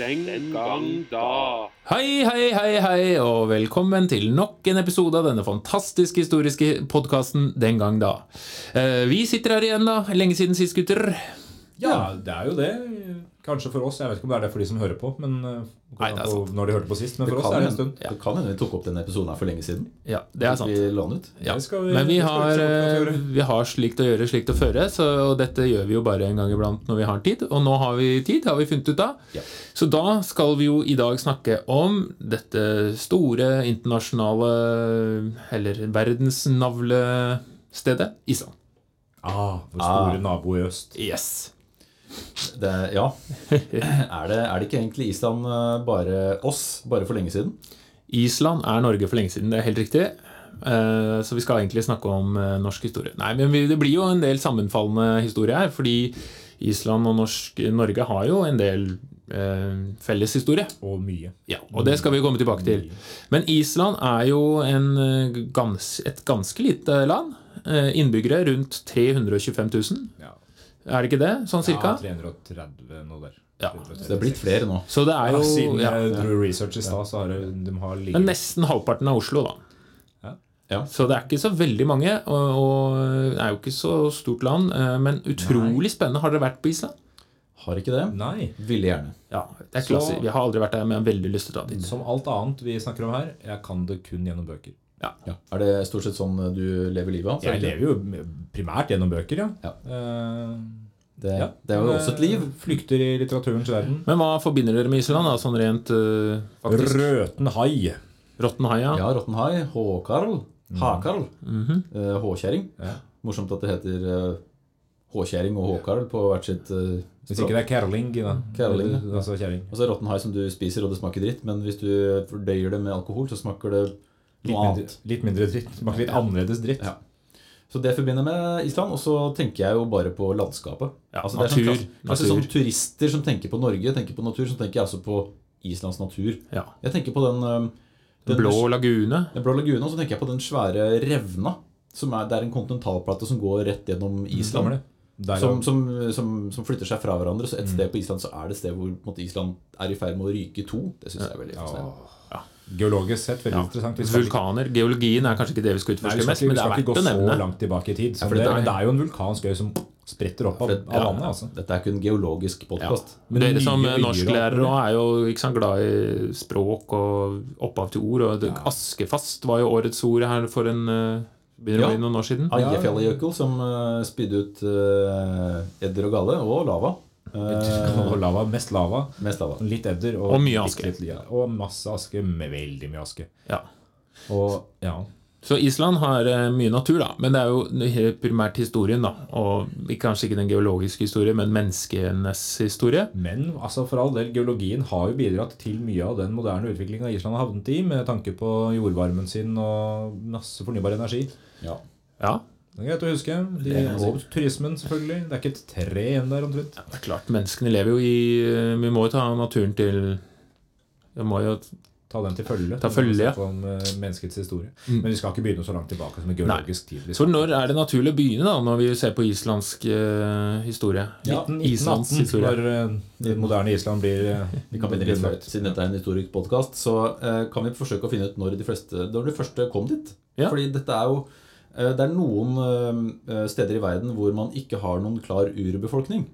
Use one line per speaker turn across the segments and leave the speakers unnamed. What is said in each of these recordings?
Den gang da.
Hei, hei, hei, hei, og velkommen til nok en episode av denne fantastiske historiske podkasten Den gang da. Eh, Vi sitter her igjen, da. Lenge siden sist, gutter.
Ja, det er jo det. Kanskje for oss. Jeg vet ikke om det er det for de som hører på. Men eh,
Nei, det er
på
sant.
når de hørte på sist. Men
Det
for oss
kan
er det en
hende-
stund.
Det kan hende vi tok opp denne episoden her for lenge siden.
Ja, det er sant.
Vi la den ut.
Ja.
Det skal vi-
Men vi
det skal vi
har,
ikke se bort fra at
eh,
vi gjør.
vi har slikt å gjøre, slikt å føre. Så, og dette gjør vi jo bare en gang iblant når vi har tid. Og nå har vi tid, har vi funnet ut av.
Ja.
Så da skal vi jo i dag snakke om dette store internasjonale, eller verdensnavlestedet Island.
Ah, vår store
Ah.
nabo i øst.
Yes.
Det, ja. Er det, er det ikke egentlig Island eh, bare oss, bare for lenge siden?
Island er Norge for lenge siden, det er helt riktig. Eh, Så vi skal egentlig snakke om eh, norsk historie. Nei, men vi- det blir jo en del sammenfallende historie her, fordi Island og norsk, Norge har jo en del eh, felles historie.
Og mye.
Ja, og det skal vi komme tilbake til. Men Island er jo en, eh, gans, et ganske lite land. Eh, Innbyggere rundt 325 000,
Ja.
er det ikke det? Sånn
Ja,
cirka?
330 nå der.
Ja.
Så det er blitt flere nå.
Så det er
Ja,
jo
siden eh,
ja,
jeg dro research i stad, så har det, de har like
men nesten halvparten av Oslo, da.
Ja.
Så det er ikke så veldig mange, og, og det er jo ikke så stort land. eh, Men utrolig spennende. Har dere vært på Island?
Har ikke det?
Nei.
Ville gjerne.
Ja, det er
Så- Mm.
klasse. Vi har aldri vært der, men jeg har veldig lyst til å dra dit.
Som alt annet vi snakker om her, jeg kan det kun gjennom bøker.
Ja. Er det stort sett sånn du lever livet av?
Jeg lever jo primært gjennom bøker, ja.
Ja.
Eh,
Det,
ja.
det er jo
Men,
også et liv.
eh, Flykter i litteraturens verden.
Men hva forbinder dere med Island? da, sånn rent eh, faktisk?
Røten hai.
Rottenhaia?
Ja, Rottenhai, Håkarl, Hakarl,
Mhm.
eh, Håkjerring.
Ja.
Morsomt at det heter eh, Håkjerring og Håkarl på hvert sitt eh,
Hvis ikke
språk.
det er kerling. Da.
Kerling, ja.
Eller, Altså kjerring.
Altså Rottenhai som du spiser, og det smaker dritt, men hvis du fordøyer det med alkohol, så smaker det
Litt
noe annet.
mindre, litt mindre dritt. Smaker litt annerledes dritt.
Ja. Så det forbinder jeg med Island. Og så tenker jeg jo bare på landskapet.
Ja,
Altså,
natur.
Det er sånn, klasse- klasse
natur.
sånn turister som tenker på Norge, tenker på natur, så tenker jeg også på Islands natur.
Ja.
Jeg tenker på den, øhm, den
Blå lagune?
den blå laguna, og så tenker jeg på den svære revna. Som er, det er en kontinentalplate som går rett gjennom
Stemmer
Island.
det. Der,
Som, som, som, som flytter seg fra hverandre. Så et sted på Island så er det sted hvor på en måte, Island er i ferd med å ryke i to. Det syns jeg er veldig
ja.
fascinerende.
Geologisk sett veldig interessant. Vi skal ikke-
Vulkaner? Geologien er kanskje ikke det vi skal
Nei,
utforske
vi skal
mest,
ikke, vi
men det er
skal ikke
verdt
gå
å
så
nevne.
langt tilbake i tid. som
for det
det,
er-
men det er jo en vulkansk øy som spretter opp av,
For det-
av
ja.
vannet. Altså.
Dette er kun geologisk podkast.
Men
Dere som
nye øyer og-
norsklærere og er jo ikke sant, glad i språk og opphav til ord. Og det- Askefast var jo årets ord her for en eh, begynner
Ja.
å bli noen år siden.
Aljefjellajøkull som eh, spydde ut eh, edder og gale, og lava. Eh,
Og lava, mest lava.
mest lava.
Litt edder.
Og mye
litt-
aske.
litt- ja, og masse aske. Med veldig mye aske.
Ja.
Og ja,
Så Island har eh, mye natur, da. Men det er jo he- primært historien, da. Og ikke- kanskje ikke den geologiske historien, men menneskenes historie.
Men altså for all del, geologien har jo bidratt til mye av den moderne utviklinga Island har havnet i, med tanke på jordvarmen sin og masse fornybar energi.
Ja.
Ja,
Det er greit å huske. De,
Det kan man si.
og turismen, selvfølgelig. Det er ikke et tre igjen der omtrent.
det er klart. Menneskene lever jo i eh, Vi må jo ta naturen til Vi må jo
Ta den til følge.
Ta følge, ja.
Snakke Om eh, menneskets historie.
Mm.
Men vi skal ikke begynne så langt tilbake som i geologisk tid. liksom. Vi
Så når er det naturlig å begynne, da, når vi ser på islandsk eh, historie?
Ja,
1918,
historie.
når eh, det moderne Island blir eh,
Vi kan begynne litt før. Siden dette er en historisk podkast, så eh, kan vi forsøke å finne ut når de fleste Når de første kom dit.
Ja.
Fordi dette er jo eh, Det er noen eh, steder i verden hvor man ikke har noen klar urbefolkning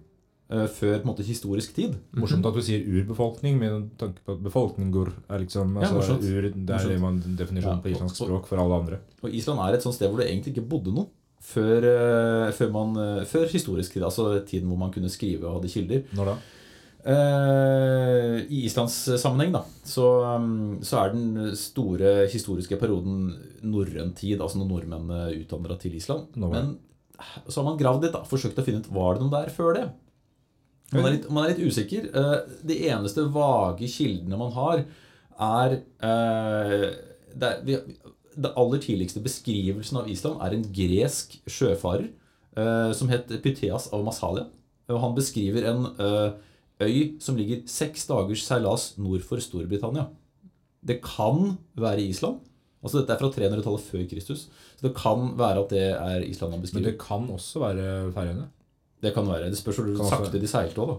eh, før på en måte historisk tid.
Mm-hmm. Morsomt at du sier urbefolkning, med tanke på at befolkning går er liksom
Ja,
altså,
morsomt.
ur, Det er det man definisjonen
Ja,
på islandsk
og- og-
språk for alle andre.
Og Island er et sånt sted hvor det egentlig ikke bodde noen før, eh, før, man, eh, før historisk tid. Altså tiden hvor man kunne skrive og hadde kilder.
Når da?
Eh, I Islands sammenheng da, så, um, så er den store historiske perioden norrøn tid, altså når nordmennene utvandra til Island.
Nå var det.
Men eh, så har man gravd litt, da, forsøkt å finne ut var det noe der før det. Man er litt, man er litt usikker. Eh, De eneste vage kildene man har, er eh, det, er- vi, det aller tidligste beskrivelsen av Island er en gresk sjøfarer eh, som het Pytheas av Massalia. Og han beskriver en eh, øy som ligger seks dagers seilas nord for Storbritannia. Det kan være Island. Altså Dette er fra 300-tallet før Kristus. Så det kan være at det er Island han
Men
beskriver.
det kan også være Færøyene.
Det kan være. Det spørs hvor
Kan også
sakte de seilte òg, da.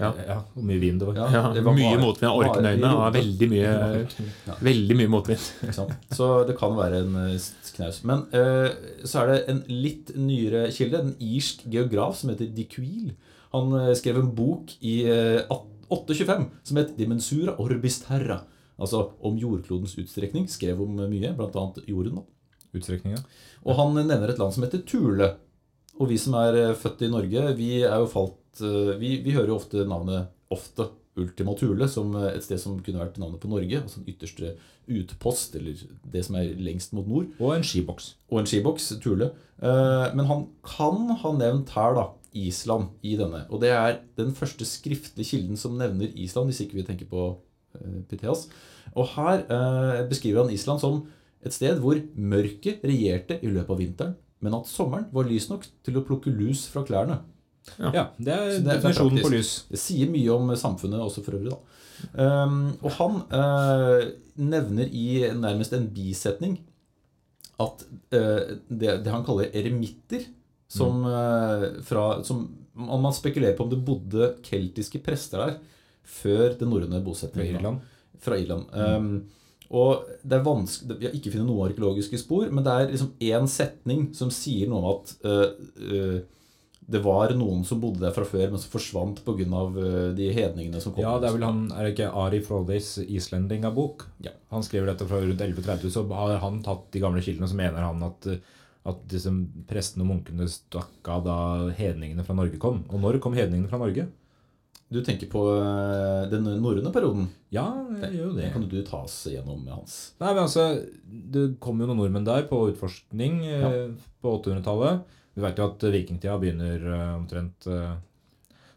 Ja.
Ja, Hvor mye vin det var.
Ja,
det var
mye
bare-
motvind. Jeg orker
bare-
den øynene. Ja, veldig mye, veldig mye motvind.
Ikke sant? Så det kan være en eh, knaus. Men eh, så er det en litt nyere kilde, en irsk geograf som heter de Quille. Han eh, skrev en bok i eh, 825 som het 'Dimensura orbis terra'. Altså om jordklodens utstrekning. Skrev om eh, mye, bl.a. jorden. da.
Utstrekninga.
Og han nevner et land som heter Tule. Og vi som er eh, født i Norge, vi er jo falt eh, Vi, vi hører jo ofte navnet ofte Ultima Thule som eh, et sted som kunne vært navnet på Norge. Altså den ytterste utpost, eller det som er lengst mot nord.
Og en skiboks.
Og en skiboks, Thule. Eh, Men han kan ha nevnt her, da, Island i denne. Og det er den første skriftlige kilden som nevner Island, hvis ikke vi tenker på eh, Pytheas. Og her eh, beskriver han Island som et sted hvor mørket regjerte i løpet av vinteren, men at sommeren var lys nok til å plukke lus fra klærne.
Ja, det er
Så det er- det er
definisjonen
praktisk.
på lys.
Det sier mye om samfunnet også for øvrig, da. Ehm, og han eh, nevner i nærmest en bisetning at eh, det, det han kaller eremitter som, eh, fra, som om Man spekulerer på om det bodde keltiske prester der før den norrøne
Fra
bosettingen. da
Irland.
fra Irland. Um, og det er vanskelig, Vi har ikke funnet noen arkeologiske spor, men det er liksom én setning som sier noe om at eh, eh, det var noen som bodde der fra før, men som forsvant pga. Uh, de hedningene som kom.
Ja, det er vel han, er det ikke Ari Frodis Islendinga-bok?
Ja.
Han skriver dette fra rundt 1130, så har han tatt de gamle kildene, så mener han at, at liksom prestene og munkene stakk av da hedningene fra Norge kom. Og når kom hedningene fra Norge?
Du tenker på eh, den norrøne perioden.
Ja, jeg gjør jo det.
Den kan du ta oss gjennom, Hans.
Nei, men altså, Det kom jo noen nordmenn der på utforskning eh, på 800-tallet. Vi vet jo at eh, vikingtida begynner eh, omtrent eh,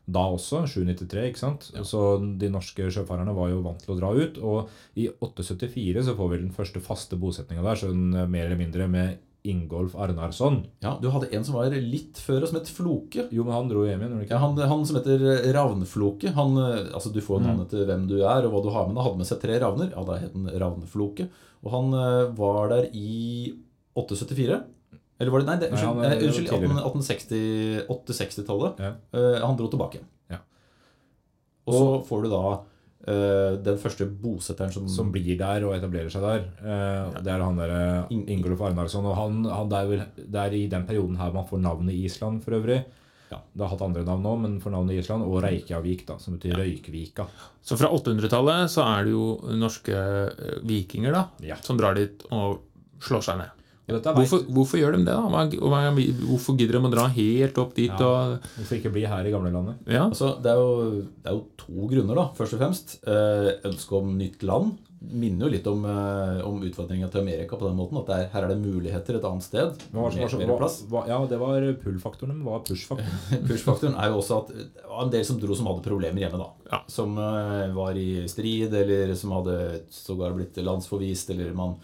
da også, 793. ikke sant? Så de norske sjøfarerne var jo vant til å dra ut. Og i 874 så får vi den første faste bosetninga der, sånn eh, mer eller mindre med Ingolf Arnarsson.
Ja, Du hadde en som var litt før, og som het Floke.
Jo, men han dro hjem igjen, gjorde han
Ja,
ikke?
han, han som heter Ravnfloke han, eh, altså Du
Mm.
får navnet til hvem du er og hva du har med deg. Hadde med seg tre ravner. Ja, Da het han Ravnfloke. Og han eh, var der i 874. Eller var det Nei, det,
Nei, han
unnskyld.
er-
eh, unnskyld
det var
18- 1860 860-tallet.
Ja.
Eh, han dro tilbake igjen.
Ja.
Og så får du da eh, den første bosetteren som,
Som blir der og etablerer seg der. Eh, Det er han derre
Ing-
Ingolf Arnarsson. Og han, han det, er vel, det er i den perioden her man får navnet Island, for øvrig.
Ja.
Det har hatt andre navn òg, men for navnet Island. Og Reykjavik, da, som betyr Røykvika.
Så fra 800-tallet så er det jo norske eh, vikinger da,
Ja.
som drar dit og slår seg ned.
Og dette er
Hvorfor, hvorfor gjør de det? da? Hva- hva- Hvorfor gidder de å dra helt opp dit?
Ja.
og...
Hvorfor ikke bli her i gamlelandet?
Ja,
Altså, det, er jo, det er jo to grunner, da, først og fremst. Eh, ønsket om nytt land minner jo litt om, eh, om utvandringa til Amerika på den måten. At det er, her er det muligheter et annet sted.
Hva var, det som var,
mer, mer
hva,
plass.
hva, ja, det var pull-faktoren, men hva var push-faktoren?
Push-faktoren er jo også at det var en del som dro som hadde problemer hjemme, da.
Ja.
Som eh, var i strid, eller som hadde sågar blitt landsforvist, eller man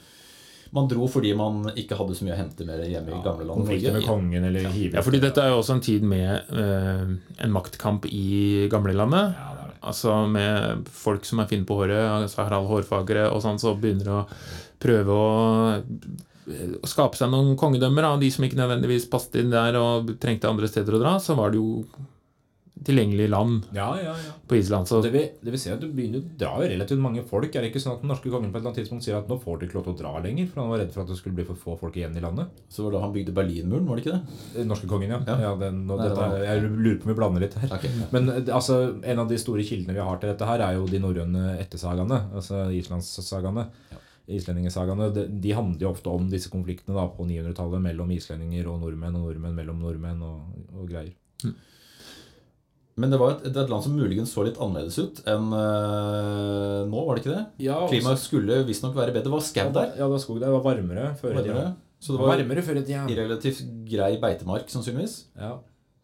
man dro fordi man ikke hadde så mye å hente mer hjemme i gamle land.
Konflikter med
Norge.
kongen eller hive
ja fordi dette er jo også en tid med eh, en maktkamp i gamlelandet.
Ja, det er det.
Altså med folk som er fine på håret, altså Harald Hårfagre og sånn, så begynner å prøve å eh, å skape seg noen kongedømmer. da. De som ikke nødvendigvis passet inn der og trengte andre steder å dra, så var det jo tilgjengelig land
Ja, ja, ja.
på Island. Så
Det vil, det vil si at du begynner å dra jo relativt mange folk. Er det ikke sånn at den norske kongen på et eller annet tidspunkt sier at nå får dere ikke lov til å dra lenger, for han var redd for at det skulle bli for få folk igjen i landet?
Så var det da han bygde Berlinmuren, var det ikke det?
Den eh, norske kongen, ja. ja. den, og
Nei,
dette,
det
jeg lurer på om vi blander litt her.
Ok, ja.
Men eh, altså, en av de store kildene vi har til dette her, er jo de norrøne ettersagaene. Altså islandssagaene. Islendingesagaene. De, de handler jo ofte om disse konfliktene da, på 900-tallet mellom islendinger og nordmenn, og nordmenn mellom nordmenn og, og greier.
Men det var et, det var et land som muligens så litt annerledes ut enn eh, nå, var det ikke det?
Ja,
Klimaet skulle visstnok være bedre. Det var skau der.
Ja, det var skog der. Det var varmere før i tida.
Varmere. Så det var
Varmere før i tida.
i relativt grei beitemark, sannsynligvis.
Ja.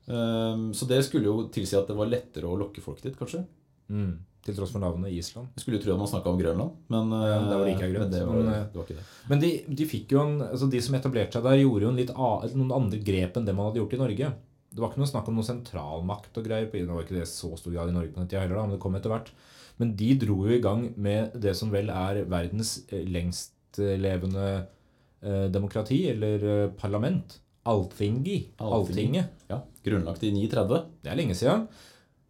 Ehm, Så det skulle jo tilsi at det var lettere å lokke folk dit, kanskje.
Mm. Til tross for navnet Island.
Jeg skulle jo tro at man snakka om Grønland, men,
Ja, men der var det ikke
eh,
grønt,
men det, var,
men, eh,
det var ikke det.
Men de, de fikk jo en, altså de som etablerte seg der, gjorde jo en litt a, eller noen andre grep enn det man hadde gjort i Norge. Det var ikke noe snakk om noe sentralmakt og greier. på- Det var ikke det så stor grad i Norge på den tida heller, da, men det kom etter hvert. Men de dro jo i gang med det som vel er verdens eh, lengstlevende eh, demokrati, eller eh, parlament. Alltingi.
Alltingi.
Alltinget.
Ja, Grunnlagt i 930.
Det er lenge siden.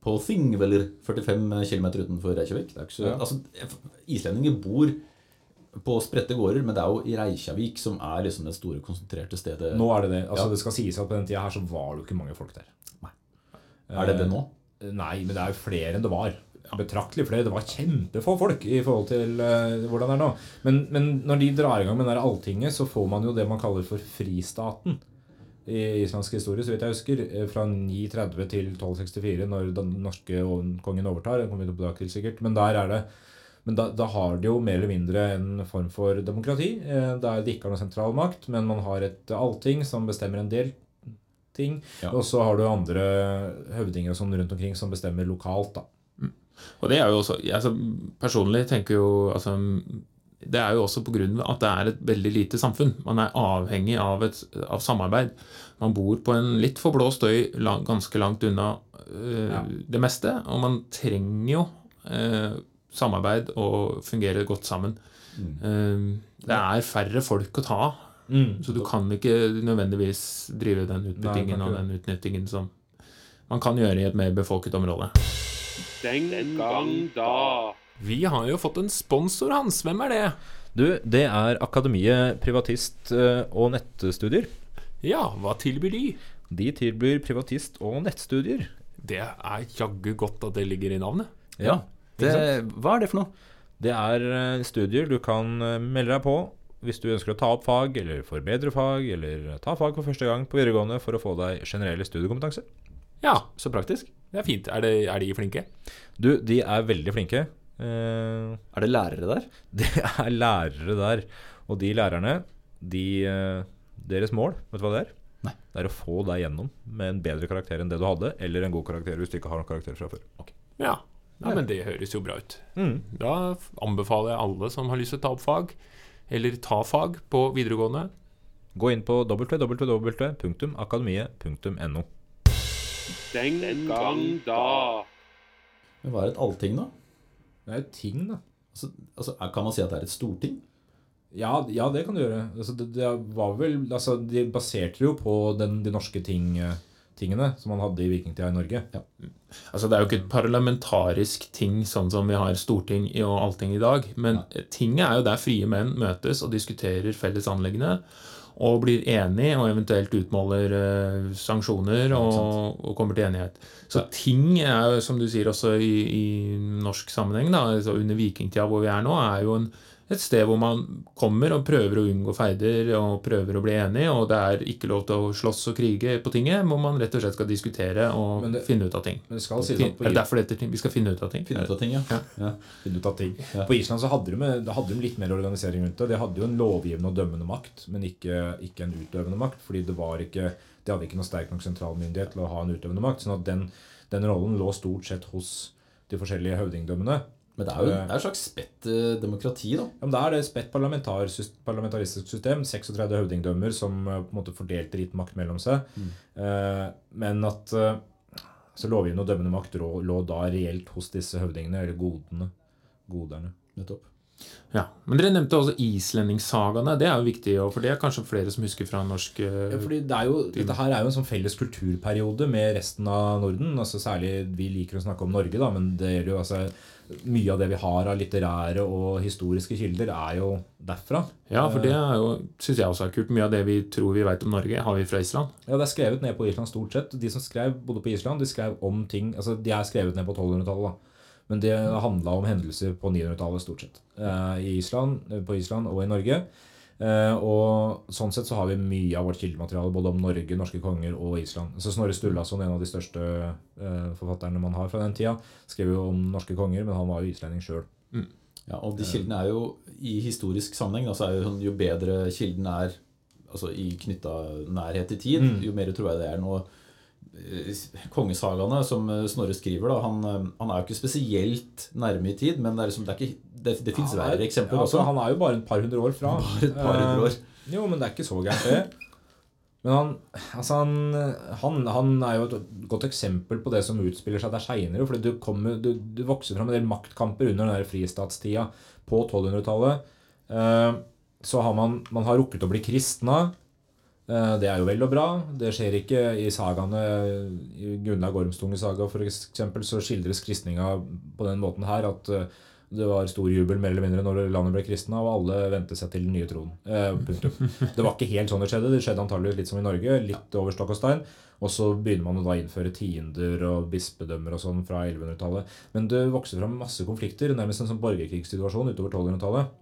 på Thingveller, 45 km utenfor Reykjavik. Det er ikke så,
Ja.
altså, f- islendinger bor på spredte gårder, men det er jo i Reykjavik som er liksom det store, konsentrerte stedet.
Nå er det det. Altså,
Ja.
Det skal sies at på den tida her så var det jo ikke mange folk der.
Nei. er det det nå?
Eh, Nei, men det er jo flere enn det var. Betraktelig flere. Det var kjempefå folk i forhold til eh, hvordan det er nå. Men, men når de drar i gang med det der alltinget, så får man jo det man kaller for fristaten. I islandsk historie, så vidt jeg husker, eh, fra 930 til 1264, når den norske o- kongen overtar. Den kommer vi tilbake til sikkert, Men der er det men da, da har de jo mer eller mindre en form for demokrati. eh, Der de ikke har noen sentral makt, men man har et allting som bestemmer en del ting.
Ja.
Og så har du andre høvdinger og sånn rundt omkring som bestemmer lokalt, da.
Og det er jo også altså, Personlig tenker jo altså, Det er jo også på grunn av at det er et veldig lite samfunn. Man er avhengig av, et, av samarbeid. Man bor på en litt for blå støy lang, ganske langt unna øh,
Ja.
det meste. Og man trenger jo øh, samarbeid og fungere godt sammen.
Mm.
Ehm, det er færre folk å ta av.
Mm.
Så du kan ikke nødvendigvis drive den utbyttingen
Nei,
og
kan
den utnyttingen som man kan gjøre i et mer befolket område.
Den gang da.
Vi har jo fått en sponsor, Hans. Hvem er det?
Du, det er Akademiet privatist eh, og nettstudier.
Ja, hva tilbyr de?
De tilbyr privatist- og nettstudier.
Det er jaggu godt at det ligger i navnet.
Ja,
Det, hva er det for noe?
Det er eh, studier du kan eh, melde deg på hvis du ønsker å ta opp fag, eller forbedre fag, eller ta fag for første gang på videregående for å få deg generell studiekompetanse.
Ja, så praktisk. Det er fint. Er, det, er de flinke?
Du, de er veldig flinke. Eh,
Er det lærere der?
Det er lærere der. Og de lærerne, de, eh, deres mål, vet du hva det er?
Nei.
Det er å få deg gjennom med en bedre karakter enn det du hadde, eller en god karakter hvis du ikke har noen karakter fra før.
Ja. Nei, men det høres jo bra ut.
Mm.
Da f- anbefaler jeg alle som har lyst til å ta opp fag, eller ta fag på videregående.
Gå inn på www.akademiet.no.
Den gang da.
Men hva er et allting, da?
Det er jo ting, da.
Altså, altså, er- kan man si at det er et storting?
Ja, ja det kan du gjøre. Altså, det, det var vel, altså, de baserte det jo på den, de norske ting, eh, tingene som man hadde i vikingtida i Norge.
Altså, Det er jo ikke et parlamentarisk ting, sånn som vi har storting i- og allting i dag. Men tinget er jo der frie menn møtes og diskuterer felles anliggende. Og blir enige, og eventuelt utmåler eh, sanksjoner og, og kommer til enighet. Så ting er jo, som du sier også i, i norsk sammenheng, da, altså under vikingtida hvor vi er nå, er jo en, et sted hvor man kommer og prøver å unngå feider og prøver å bli enig. Og det er ikke lov til å slåss og krige på tinget, hvor man rett og slett skal diskutere og
Men det-
finne ut av ting.
Men det skal sies
Fin- Er
at sånn på,
det derfor det heter ting? Vi skal finne ut av ting.
Finne ut av ting, ja. ja.
finne ut av ting. På Island så hadde de, med, da hadde de litt mer organisering rundt det. De hadde jo en lovgivende og dømmende makt, men ikke, ikke en utøvende makt. Fordi det var ikke, de hadde ikke noe sterk nok sentralmyndighet til å ha en utøvende makt. sånn at den, den rollen lå stort sett hos de forskjellige høvdingdømmene.
Men det er jo det er et slags spett eh, demokrati, da.
Ja, men Da er det et parlamentar, sys- parlamentaristisk system, 36 høvdingdømmer som eh, på en måte fordelte litt makt mellom seg. Eh, men at eh, så lovgivende og dømmende makt rå- lå da reelt hos disse høvdingene, eller godene. Goderne.
Nettopp.
Ja. Men dere nevnte også islendingssagaene. Det er jo viktig, og for det er kanskje flere som husker fra norsk eh,
Ja, fordi det er jo, dette her er jo en sånn felles kulturperiode med resten av Norden. altså Særlig vi liker å snakke om Norge, da, men det gjelder jo altså mye av det vi har av litterære og historiske kilder, er jo derfra.
Ja, for det er jo, syns jeg også er kult. Mye av det vi tror vi veit om Norge, har vi fra Island.
Ja, Det er skrevet ned på Island stort sett. De som skrev bodde på Island, de skrev om ting altså De er skrevet ned på 1200-tallet, da. Men det handla om hendelser på 900-tallet stort sett. Eh, I Island, eh, På Island og i Norge. Eh, og sånn sett så har vi mye av vårt kildemateriale både om Norge, norske konger og Island. Så Snorre Sturlason, en av de største eh, forfatterne man har fra den tida, skrev jo om norske konger, men han var jo islending sjøl.
Ja, og de kildene er jo i historisk sammenheng da, så er jo, sånn, jo bedre kilden er altså i knytta nærhet i tid, jo mer tror jeg det er nå. eh, s- Kongesagaene som eh, Snorre skriver, da, han, eh, han er jo ikke spesielt nærme i tid, men det, er liksom, det, er ikke, det, det fins verre eksempler
ja, altså,
også.
Han er jo bare et par hundre år fra.
Bare et par
Eh,
hundre år.
Jo, men det er ikke så gærent, det. Men han, altså han, han, han er jo et godt eksempel på det som utspiller seg der seinere. For du, kommer- du, du vokser fram en del maktkamper under den der fristatstida på 1200-tallet. Eh, så har man, man har rukket å bli kristna. Eh, Det er jo vel og bra. Det skjer ikke i sagaene. I Gunnlaug Ormstunges saga for eksempel, så skildres kristninga på den måten her at eh, det var stor jubel mer eller mindre når landet ble kristna, og alle vendte seg til den nye troen. Eh, punktum. Det var ikke helt sånn det skjedde. Det skjedde antageligvis litt som i Norge, litt over stokk og stein. Og så begynner man å da innføre tiender og bispedømmer og sånn fra 1100-tallet. Men det vokser fram masse konflikter, nærmest en sånn borgerkrigssituasjon utover 1200-tallet.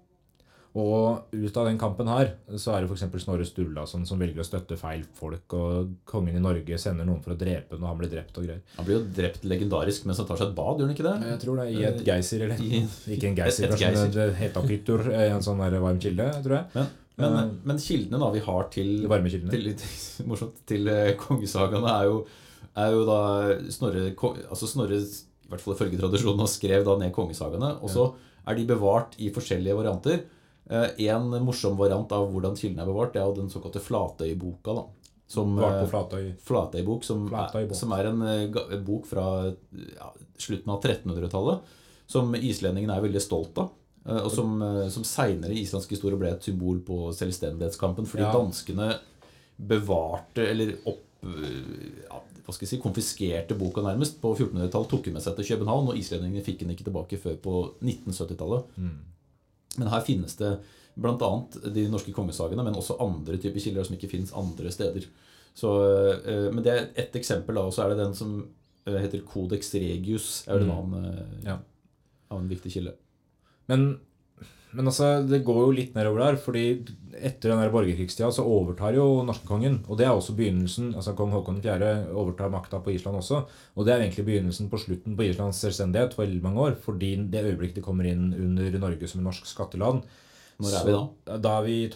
Og ut av den kampen her, så er det f.eks. Snorre Sturlason som velger å støtte feil folk, og kongen i Norge sender noen for å drepe ham, og han blir drept og greier.
Han blir jo drept legendarisk mens han tar seg et bad, gjør han ikke det?
Jeg tror det er i et Eh, geyser, eller
I-
Ikke en geyser,
Et- et
kanskje, men
geyser.
et hetapitur, en sånn der varm kilde, tror jeg.
Men, men,
Eh.
men kildene da vi har til,
De varme kildene.
til, til, morsomt, til eh, kongesagaene, er jo, er jo da Snorre, ko- altså Snorre, i hvert fall ifølge tradisjonen, og skrev da ned kongesagaene. Og så er de bevart i forskjellige varianter. Eh, En morsom variant av hvordan kildene er bevart, det er jo den såkalte Flatøyboka. da. Som,
Vart på
eh,
Flatøy.
Flatøybok, som,
Flatøybok.
Er, som er en eh, ga- en bok fra ja, slutten av 1300-tallet, som islendingene er veldig stolt av. eh, Og som, eh, som seinere i islandsk historie ble et symbol på selvstendighetskampen, fordi
Ja.
danskene bevarte, eller opp eh, ja, hva skal jeg si, konfiskerte boka nærmest på 1400-tallet, tok den med seg til København, og islendingene fikk den ikke tilbake før på 1970-tallet.
Mm.
Men her finnes det bl.a. de norske kongesagene, men også andre typer kilder som ikke finnes andre steder. Så, eh, men det er ett eksempel, da, og så er det den som eh, heter Codex Regius. er vel en annen, eh,
Ja.
annen viktig kilde.
Men, men altså, det går jo litt nedover der, fordi etter den der borgerkrigstida så overtar jo norskekongen. Og det er også begynnelsen. altså Kong Haakon 4. overtar makta på Island også. Og det er egentlig begynnelsen på slutten på Islands selvstendighet for veldig mange år. Fordi det øyeblikk det kommer inn under Norge som norsk skatteland,
Når er vi da?
da? Da er vi i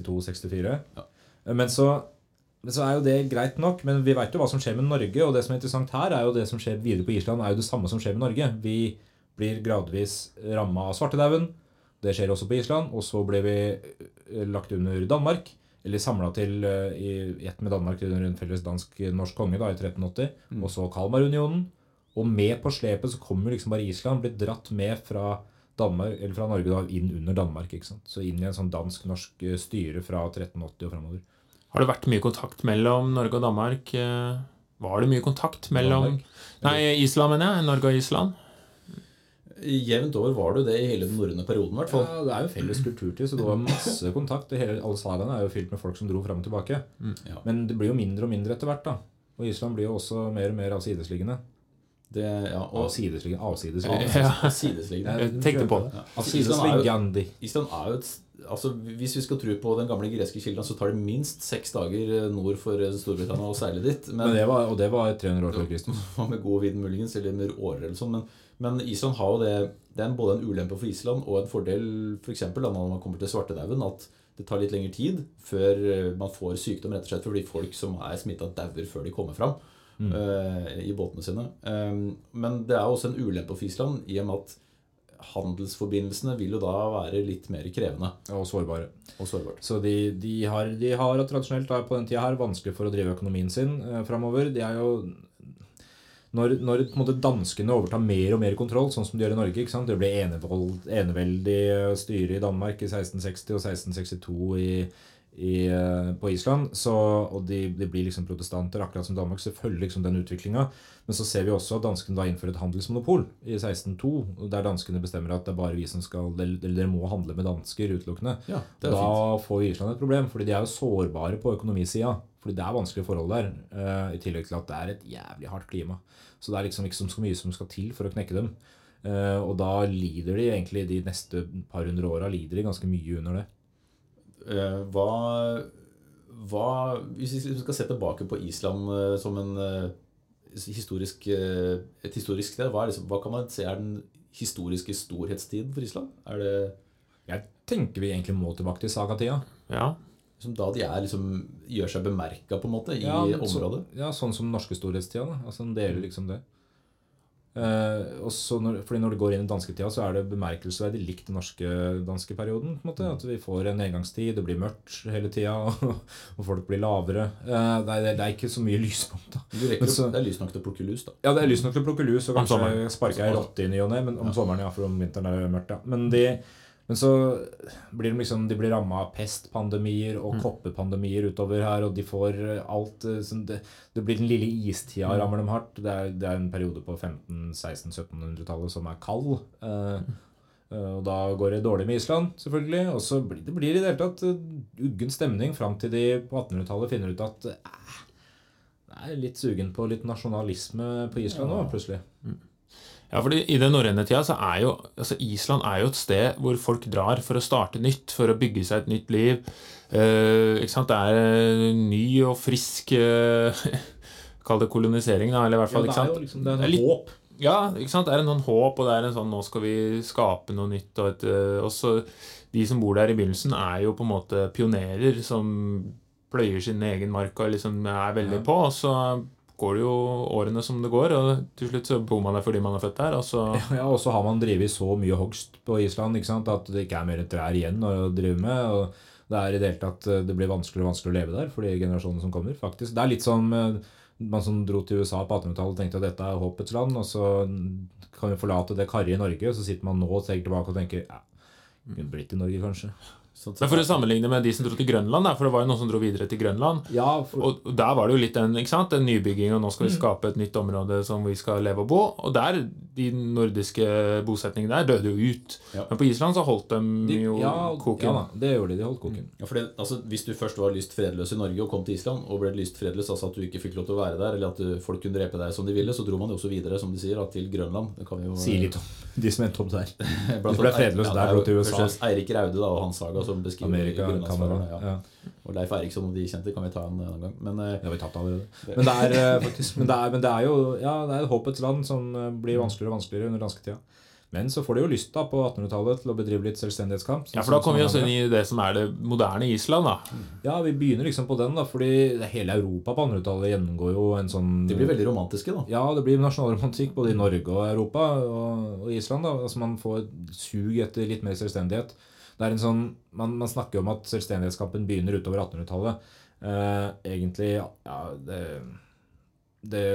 1262-64. Men, så, men så er jo det greit nok. Men vi veit jo hva som skjer med Norge. Og det som er interessant her, er jo det som skjer videre på Island, er jo det samme som skjer med Norge. Vi blir gradvis ramma av svartedauden. Det skjer også på Island. Og så ble vi eh, lagt under Danmark. Eller samla til eh, i i ett med Danmark under en felles dansk-norsk konge da, i 1380. Og så Kalmarunionen. Og med på slepet så kommer jo liksom bare Island, blir dratt med fra, Danmark, eller fra Norge da, inn under Danmark. ikke sant? Så inn i en sånn dansk-norsk eh, styre fra 1380 og framover.
Har det vært mye kontakt mellom Norge og Danmark? eh, Var det mye kontakt mellom
Danmark?
Nei, Island, mener jeg. Norge og Island.
Jevnt over var det jo det i hele den norrøne perioden, i hvert fall.
Ja, det er jo felles kulturtid, så det var masse kontakt. Det hele, alle sagaene er jo fylt med folk som dro fram og tilbake.
Mm, Ja.
Men det blir jo mindre og mindre etter hvert, da. Og Island blir jo også mer og mer avsidesliggende.
Det, ja, og
Avsidesliggende, avsidesliggende.
Ja.
sidesliggende.
Jeg tenkte på det.
Avsidesliggende.
Island er jo et altså Hvis vi skal tro på den gamle greske kilden, så tar det minst seks dager eh, nord for Storbritannia å seile dit.
Men
Men
det var, og det var 300 år før Kristus.
hva med god vind, muligens, eller med årer eller sånn. Men, men Island har jo det Det er både en ulempe for Island og en fordel f.eks. For når man kommer til svartedauden, at det tar litt lengre tid før eh, man får sykdom, rett og slett fordi folk som er smitta, dauer før de kommer fram eh, i båtene sine. Eh, men det er jo også en ulempe for Island i og med at handelsforbindelsene vil jo da være litt mer krevende
Og sårbare.
og sårbart.
Så de, de, har, de har tradisjonelt da, på den tida her vanskelig for å drive økonomien sin eh, framover. De er jo når, når på en måte danskene overtar mer og mer kontroll, sånn som de gjør i Norge ikke sant? Det blir enevold, eneveldig eh, styre i Danmark i 1660 og 1662 i, i, eh, på Island. Så, og de, de blir liksom protestanter, akkurat som Danmark. Så følger liksom den utviklinga. Men så ser vi også at danskene da innfører et handelsmonopol i 1602. og Der danskene bestemmer at det er bare vi som skal, eller dere må handle med dansker utelukkende.
Ja, det er jo
Da får Island et problem, fordi de er jo sårbare på økonomisida. Fordi det er vanskelige forhold der, eh, i tillegg til at det er et jævlig hardt klima. Så det er liksom ikke så mye som skal til for å knekke dem. Eh, og da lider de egentlig de neste par hundre åra lider de ganske mye under det.
Eh, hva, hva Hvis vi skal se tilbake på Island eh, som en eh, historisk, eh, et historisk sted, hva, er liksom, hva kan man se er den historiske storhetstiden for Island? Er det
Jeg tenker vi egentlig må tilbake til sagatida.
Ja.
liksom, da de er, liksom, gjør seg bemerka, på en måte, i området?
Så, ja, sånn som norske storhetstida. Da. Altså Den deler liksom det. Eh, og så når, fordi når det går inn i dansketida, så er det bemerkelsesverdig likt den norske danske perioden. på en måte, At vi får en nedgangstid, det blir mørkt hele tida, og, og folk blir lavere. Eh, det, er, det er ikke så mye lyspunkt, da.
Du rekker,
Men
jo-
så-
det er lyst nok til å plukke lus, da.
Ja, det er lyst nok til å plukke lus og
Om
kanskje
sommeren.
sparke ei rotte inn i ny og ne, men om sommeren, ja, for om vinteren er det mørkt, ja. Men de, Men så blir de liksom De blir ramma av pestpandemier og koppepandemier utover her, og de får eh, alt eh, sånn det, det blir den lille istida rammer dem hardt. Det er, det er en periode på 1500-1600-1700-tallet som er kald. eh, eh, og da går det dårlig med Island, selvfølgelig. Og så blir det blir i det hele tatt eh, uggen stemning fram til de på 1800-tallet finner ut at eh, jeg er litt sugen på litt nasjonalisme på Island nå, plutselig.
Ja, fordi I den norrøne tida så er jo altså Island er jo et sted hvor folk drar for å starte nytt, for å bygge seg et nytt liv. Eh, ikke sant? Det er eh, ny og frisk eh, Kall det kolonisering, da. Eller i hvert fall,
det
ikke
er jo
sant?
liksom det
Det
er
er litt-
en håp.
Ja, ikke sant? Det er en sånn håp, og det er en sånn 'nå skal vi skape noe nytt'. Og et, øh, også de som bor der i begynnelsen, er jo på en måte pionerer som pløyer sin egen mark og liksom er veldig på. Og så går det jo årene som det går, og til slutt så bor man der fordi man er født der. Og så
Ja, og så har man drevet så mye hogst på Island ikke sant? at det ikke er mer trær igjen å drive med. og Det er i det hele tatt eh, det blir vanskeligere og vanskeligere å leve der for de generasjonene som kommer. faktisk. Det er litt som eh, man som dro til USA på 1800-tallet og tenkte at dette er håpets land, og så kan vi forlate det karrige Norge, og så sitter man nå og tenker tilbake og tenker ja, kunne blitt i Norge, kanskje.
Sånn
Men
sett-
For å sammenligne med de som dro til Grønland, da, for det var jo noen som dro videre til Grønland.
Ja, for,
Og og der var det jo litt den, ikke sant? den nybygging, og nå
Mm.
skal vi skape et nytt område som vi skal leve og bo. Og der, de nordiske bosetningene der døde jo ut.
Ja.
Men på Island så holdt de jo
ja,
koken.
ja da, det gjorde de. De holdt koken.
Ja, for det, altså, Hvis du først var lyst fredløs i Norge og kom til Island, og ble lyst fredløs, altså at du ikke fikk lov til å være der, eller at du, folk kunne drepe deg som de ville, så dro man jo også videre, som de sier, da, til Grønland. Det kan vi jo
Sier litt om de som endte opp der.
Blant
Du ble
annet-
fredløs
ja,
der,
det er jo
dro til USA.
først og fremst Eirik Raude da, og Hans Saga som beskriver
Amerika, Canada.
grønlandsfarerne. Ja.
Ja.
Og Leif Eriksson og de kjente kan vi ta en annen gang. Men eh,
Det har vi tatt allerede. Men det er, eh, faktisk, men det er, men det er jo ja, det er håpets land som eh, blir vanskeligere og vanskeligere under dansketida. Men så får de jo lyst da på 1800-tallet til å bedrive litt selvstendighetskamp. sånn
Ja, for da kommer vi oss inn i det som er det moderne Island, da.
Ja, vi begynner liksom på den, da, fordi hele Europa på 1800-tallet gjennomgår jo en sånn
de blir veldig romantiske, da.
Ja, det blir nasjonalromantikk både i Norge og Europa og, og Island. da, altså Man får et sug etter litt mer selvstendighet. Det er en sånn, Man, man snakker jo om at selvstendighetskampen begynner utover 1800-tallet. Eh, egentlig ja, det, det,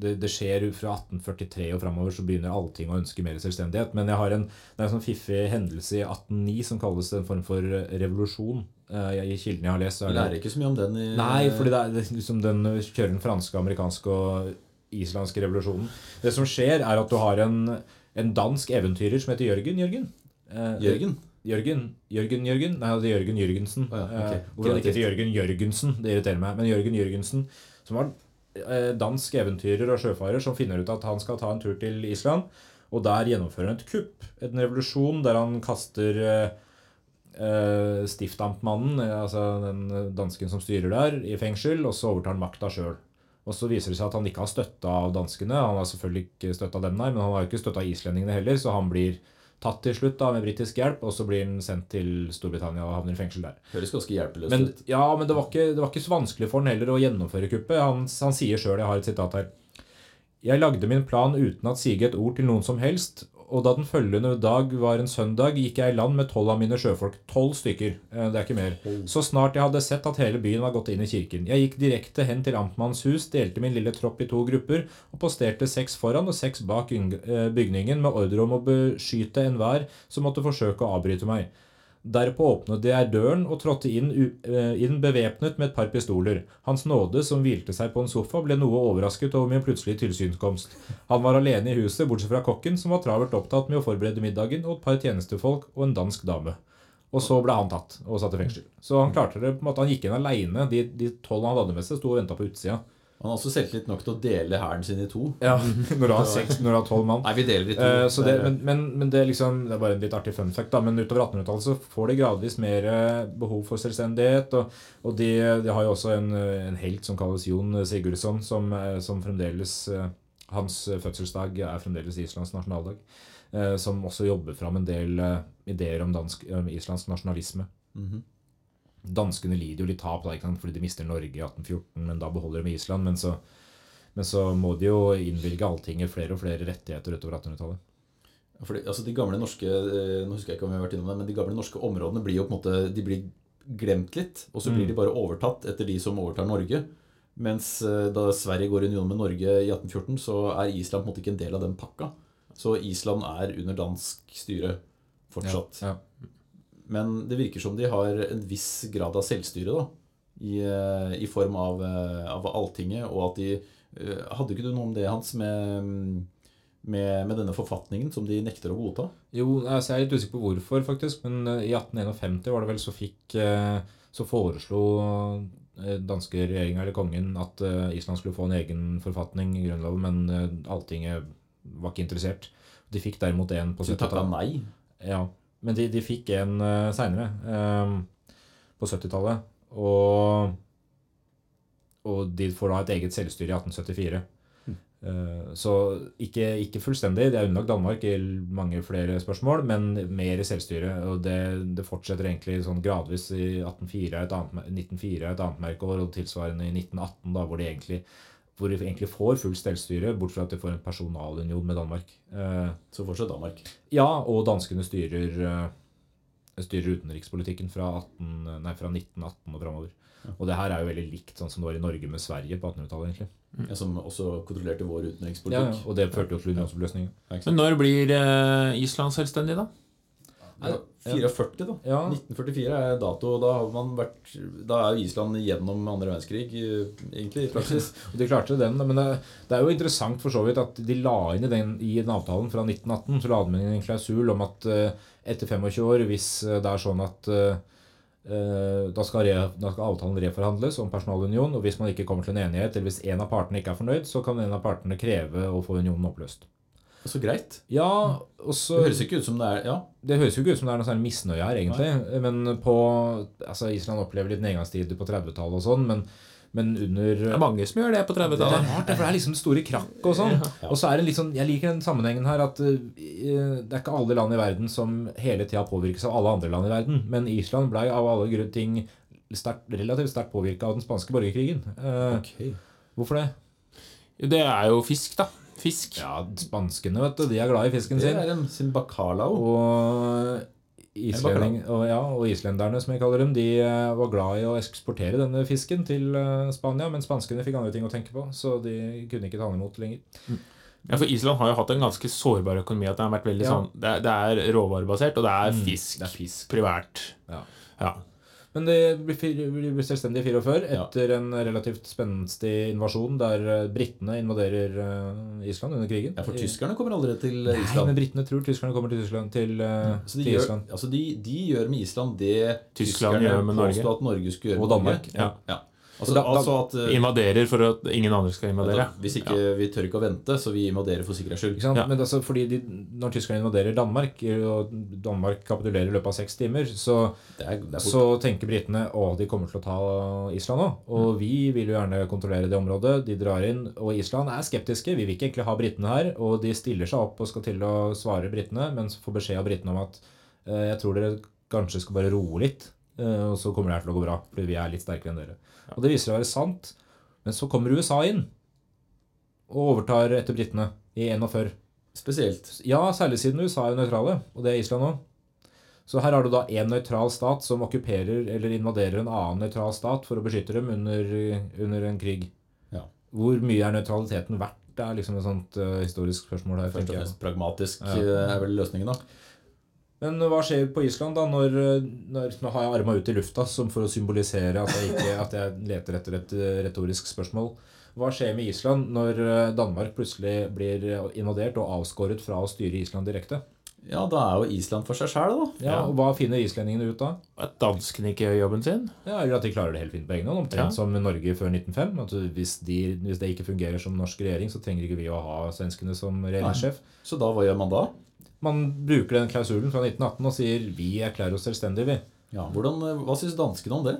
det, det skjer jo fra 1843 og framover så begynner allting å ønske mer selvstendighet. Men jeg har en, det er en sånn fiffig hendelse i 1809 som kalles en form for revolusjon. Eh, jeg- I kildene jeg har lest, så
Vi
er det
lærer ikke så mye om den i
Nei, fordi det er, det er liksom den kjører den franske, amerikanske og islandske revolusjonen. Det som skjer, er at du har en, en dansk eventyrer som heter Jørgen Jørgen. Eh,
Jørgen?
Jørgen Jørgen Jørgen? Nei, det er Jørgen Jørgensen.
Å ja, ok.
Eh, Hvorfor han ikke heter Jørgen Jørgensen, det irriterer meg. Men Jørgen Jørgensen, som var eh, dansk eventyrer og sjøfarer, som finner ut at han skal ta en tur til Island. Og der gjennomfører han et kupp, en revolusjon, der han kaster eh, eh, stiftamtmannen, eh, altså den dansken som styrer der, i fengsel, og så overtar han makta sjøl. Og så viser det seg at han ikke har støtte av danskene. Han har selvfølgelig ikke støtte av dem, nei, men han har jo ikke støtte av islendingene heller, så han blir tatt til slutt da med britisk hjelp, og så blir han sendt til Storbritannia og havner i fengsel der.
Høres ganske hjelpeløst
Men,
ut.
ja, men det var, ikke, det var ikke så vanskelig for han heller å gjennomføre kuppet. Han, han sier sjøl, jeg har et sitat her Jeg lagde min plan uten at sige et ord til noen som helst, og da den følgende dag var en søndag, gikk jeg i land med tolv av mine sjøfolk. Tolv stykker, eh, det er ikke mer. Så snart jeg hadde sett at hele byen var gått inn i kirken. Jeg gikk direkte hen til amtmannens hus, delte min lille tropp i to grupper og posterte seks foran og seks bak yng- eh, bygningen med ordre om å beskyte enhver som måtte forsøke å avbryte meg. Derpå åpnet jeg døren og trådte inn, u- eh, inn bevæpnet med et par pistoler. Hans nåde, som hvilte seg på en sofa, ble noe overrasket over min plutselige tilsynskomst. Han var alene i huset, bortsett fra kokken, som var travelt opptatt med å forberede middagen, og et par tjenestefolk og en dansk dame. Og så ble han tatt og satt i fengsel. Så han klarte det på en måte. Han gikk inn aleine. De de tolv han hadde med seg, sto og venta på utsida.
Han har også selvtillit nok til å dele hæren sin i to.
Ja, Når du har seks- når du har tolv mann.
Nei, vi deler i to.
Eh, så det,
er-
men, men, men det er liksom Det er bare en litt artig fun fact, da. Men utover 1800-tallet så får de gradvis mer eh, behov for selvstendighet. Og, og de, de har jo også en, eh, en helt som kalles Jon Sigurdsson, som, eh, som fremdeles eh, Hans fødselsdag er fremdeles Islands nasjonaldag. eh, Som også jobber fram en del eh, ideer om, dansk, om islands nasjonalisme.
Mhm.
Danskene lider jo litt tap da, ikke sant? fordi de mister Norge i 1814, men da beholder de Island. Men så, men så må de jo innvilge Alltinget flere og flere rettigheter utover 1800-tallet.
Fordi, altså De gamle norske eh, nå husker jeg ikke om vi har vært innom det, men de gamle norske områdene blir jo på en måte, de blir glemt litt. Og så blir de bare overtatt etter de som overtar Norge. Mens eh, da Sverige går i union med Norge i 1814, så er Island på en måte ikke en del av den pakka. Så Island er under dansk styre. fortsatt.
Ja.
Men det virker som de har en viss grad av selvstyre, da. I, eh, i form av, eh, av Alltinget, og at de eh, Hadde ikke du noe om det, Hans, med, mm, med, med denne forfatningen som de nekter å godta?
Jo, altså jeg er litt usikker på hvorfor, faktisk. Men eh, i 1851 var det vel så fikk eh, Så foreslo eh, danske regjeringa eller kongen at eh, Island skulle få en egen forfatning, Grunnloven, men eh, Alltinget var ikke interessert. De fikk derimot en på
Så de takka
70-tallet.
nei?
Ja, men de, de fikk en uh, seinere, på 70-tallet. Og, og de får da et eget selvstyre i 1874. Eh, så ikke, ikke fullstendig. Det er underlagt Danmark i mange flere spørsmål, men mer i selvstyre. Og det, det fortsetter egentlig sånn gradvis i 1804 er et annet, mer- 1904 er et annet merkeår, og tilsvarende i 1918, da, hvor de egentlig hvor de egentlig får fullt selvstyre, bortsett fra at de får en personalunion med Danmark. Eh,
Så fortsatt Danmark.
ja, og danskene styrer, eh, styrer utenrikspolitikken fra, 18, nei, fra 1918 og framover. Og det her er jo veldig likt sånn som det var i Norge med Sverige på 1800-tallet. egentlig.
Som også kontrollerte vår
Mm. Ja,
utenrikspolitikk.
Og det førte jo til unionsoppløsningen.
Men når blir eh, Island selvstendig, da?
Ja, 44, da.
Ja.
1944 er dato. og Da, har man vært, da er Island gjennom andre verdenskrig, eh, egentlig, i praksis.
Og de klarte den, men det, det er jo interessant for så vidt at de la inn i den, i den avtalen fra 1918 så la de inn en klausul om at eh, etter 25 år, hvis eh, det er sånn at eh, eh, da, skal re, da skal avtalen reforhandles om personalunion, og hvis man ikke kommer til en enighet, eller hvis en av partene ikke er fornøyd, så kan en av partene kreve å få unionen oppløst.
Så greit.
Ja, og så
Mm. Det høres ikke ut som det er Ja.
det høres jo ikke ut som det er noe særlig misnøye her, egentlig. Men på, altså Island opplever litt nedgangstider på 30-tallet og sånn, men, men under
Det er mange som gjør det på
det er
30-tallet.
rart, for det er liksom store krakk og sånn. Og så er det litt sånn, Jeg liker den sammenhengen her at eh, det er ikke alle land i verden som hele tida påvirkes av alle andre land i verden. Men Island blei av alle grunn- ting sterkt, relativt sterkt påvirka av den spanske borgerkrigen. Eh, Hvorfor det?
Det er jo fisk, da. Fisk.
Ja, Spanskene vet du, de er glad i fisken
Det
sin.
er en sin bacalao.
Og, islending, og, ja, og islenderne, som jeg kaller dem, de eh, var glad i å eksportere denne fisken til eh, Spania, men spanskene fikk andre ting å tenke på, så de kunne ikke ta den imot lenger.
Ja, for Island har jo hatt en ganske sårbar økonomi. at Det har vært veldig
Ja. Mm.
sånn, det, er- det er råvarebasert, og det er fisk,
det er fisk.
privært.
Ja.
Ja.
Men de blir fir- blir selvstendige i 44 etter en relativt spenstig invasjon der eh, britene invaderer eh, Island under krigen.
Ja, for tyskerne kommer aldri til
Nei,
Island.
men britene tror tyskerne kommer til Tyskland. Til, eh,
Så de
til
gjør,
Island.
altså de, de gjør med Island det
Tyskland
tyskerne
gjør med Norge.
påstod at Norge skulle gjøre
Og
med
Danmark,
Norge.
ja.
Ja. Altså,
da- da-
altså at eh,
Invaderer for at ingen andre skal invadere.
da- Hvis ikke vi tør ikke å vente, så vi invaderer for sikkerhets skyld.
Ikke sant?
Ja.
Men altså, fordi de, når tyskerne invaderer Danmark, eh, og Danmark kapitulerer i løpet av seks timer, så
Det er, det er fort.
Så tenker britene å, de kommer til å ta Island nå.
Mm.
Og vi vil jo gjerne kontrollere det området. De drar inn, og Island er skeptiske. Vi vil ikke egentlig ha britene her. Og de stiller seg opp og skal til å svare britene, men så får beskjed av britene om at eh, jeg tror dere kanskje skal bare roe litt, eh, og så kommer det her til å gå bra. Fordi vi er litt sterkere enn dere. Og det viser seg å være sant. Men så kommer USA inn og overtar etter britene i 41.
spesielt.
Ja, særlig siden USA er jo nøytrale, og det er Island òg. Så her har du da én nøytral stat som okkuperer eller invaderer en annen nøytral stat for å beskytte dem under, under en krig.
Ja.
Hvor mye er nøytraliteten verdt? Det er liksom et sånt eh, historisk spørsmål her.
Først
tenker
og
jeg.
fremst pragmatisk
Ja.
eh, er vel løsningen, da.
Men hva skjer på Island da når, når Nå har jeg arma ut i lufta som for å symbolisere at jeg, ikke, at jeg leter etter et eh, retorisk spørsmål. Hva skjer med Island når eh, Danmark plutselig blir eh, invadert og avskåret fra å styre Island direkte?
Ja, da er jo Island for seg sjæl, da.
Ja, og Hva finner islendingene ut da?
At danskene ikke gjør jobben sin.
Ja, Eller at de klarer det helt fint på egen hånd, omtrent
Ja.
som Norge før 1905. At hvis, de, hvis det ikke fungerer som norsk regjering, så trenger ikke vi å ha svenskene som regjeringssjef.
Så da, hva gjør man da?
Man bruker den klausulen fra 1918 og sier 'vi erklærer oss selvstendige', vi.
Ja, hvordan, eh, hva syns danskene om det?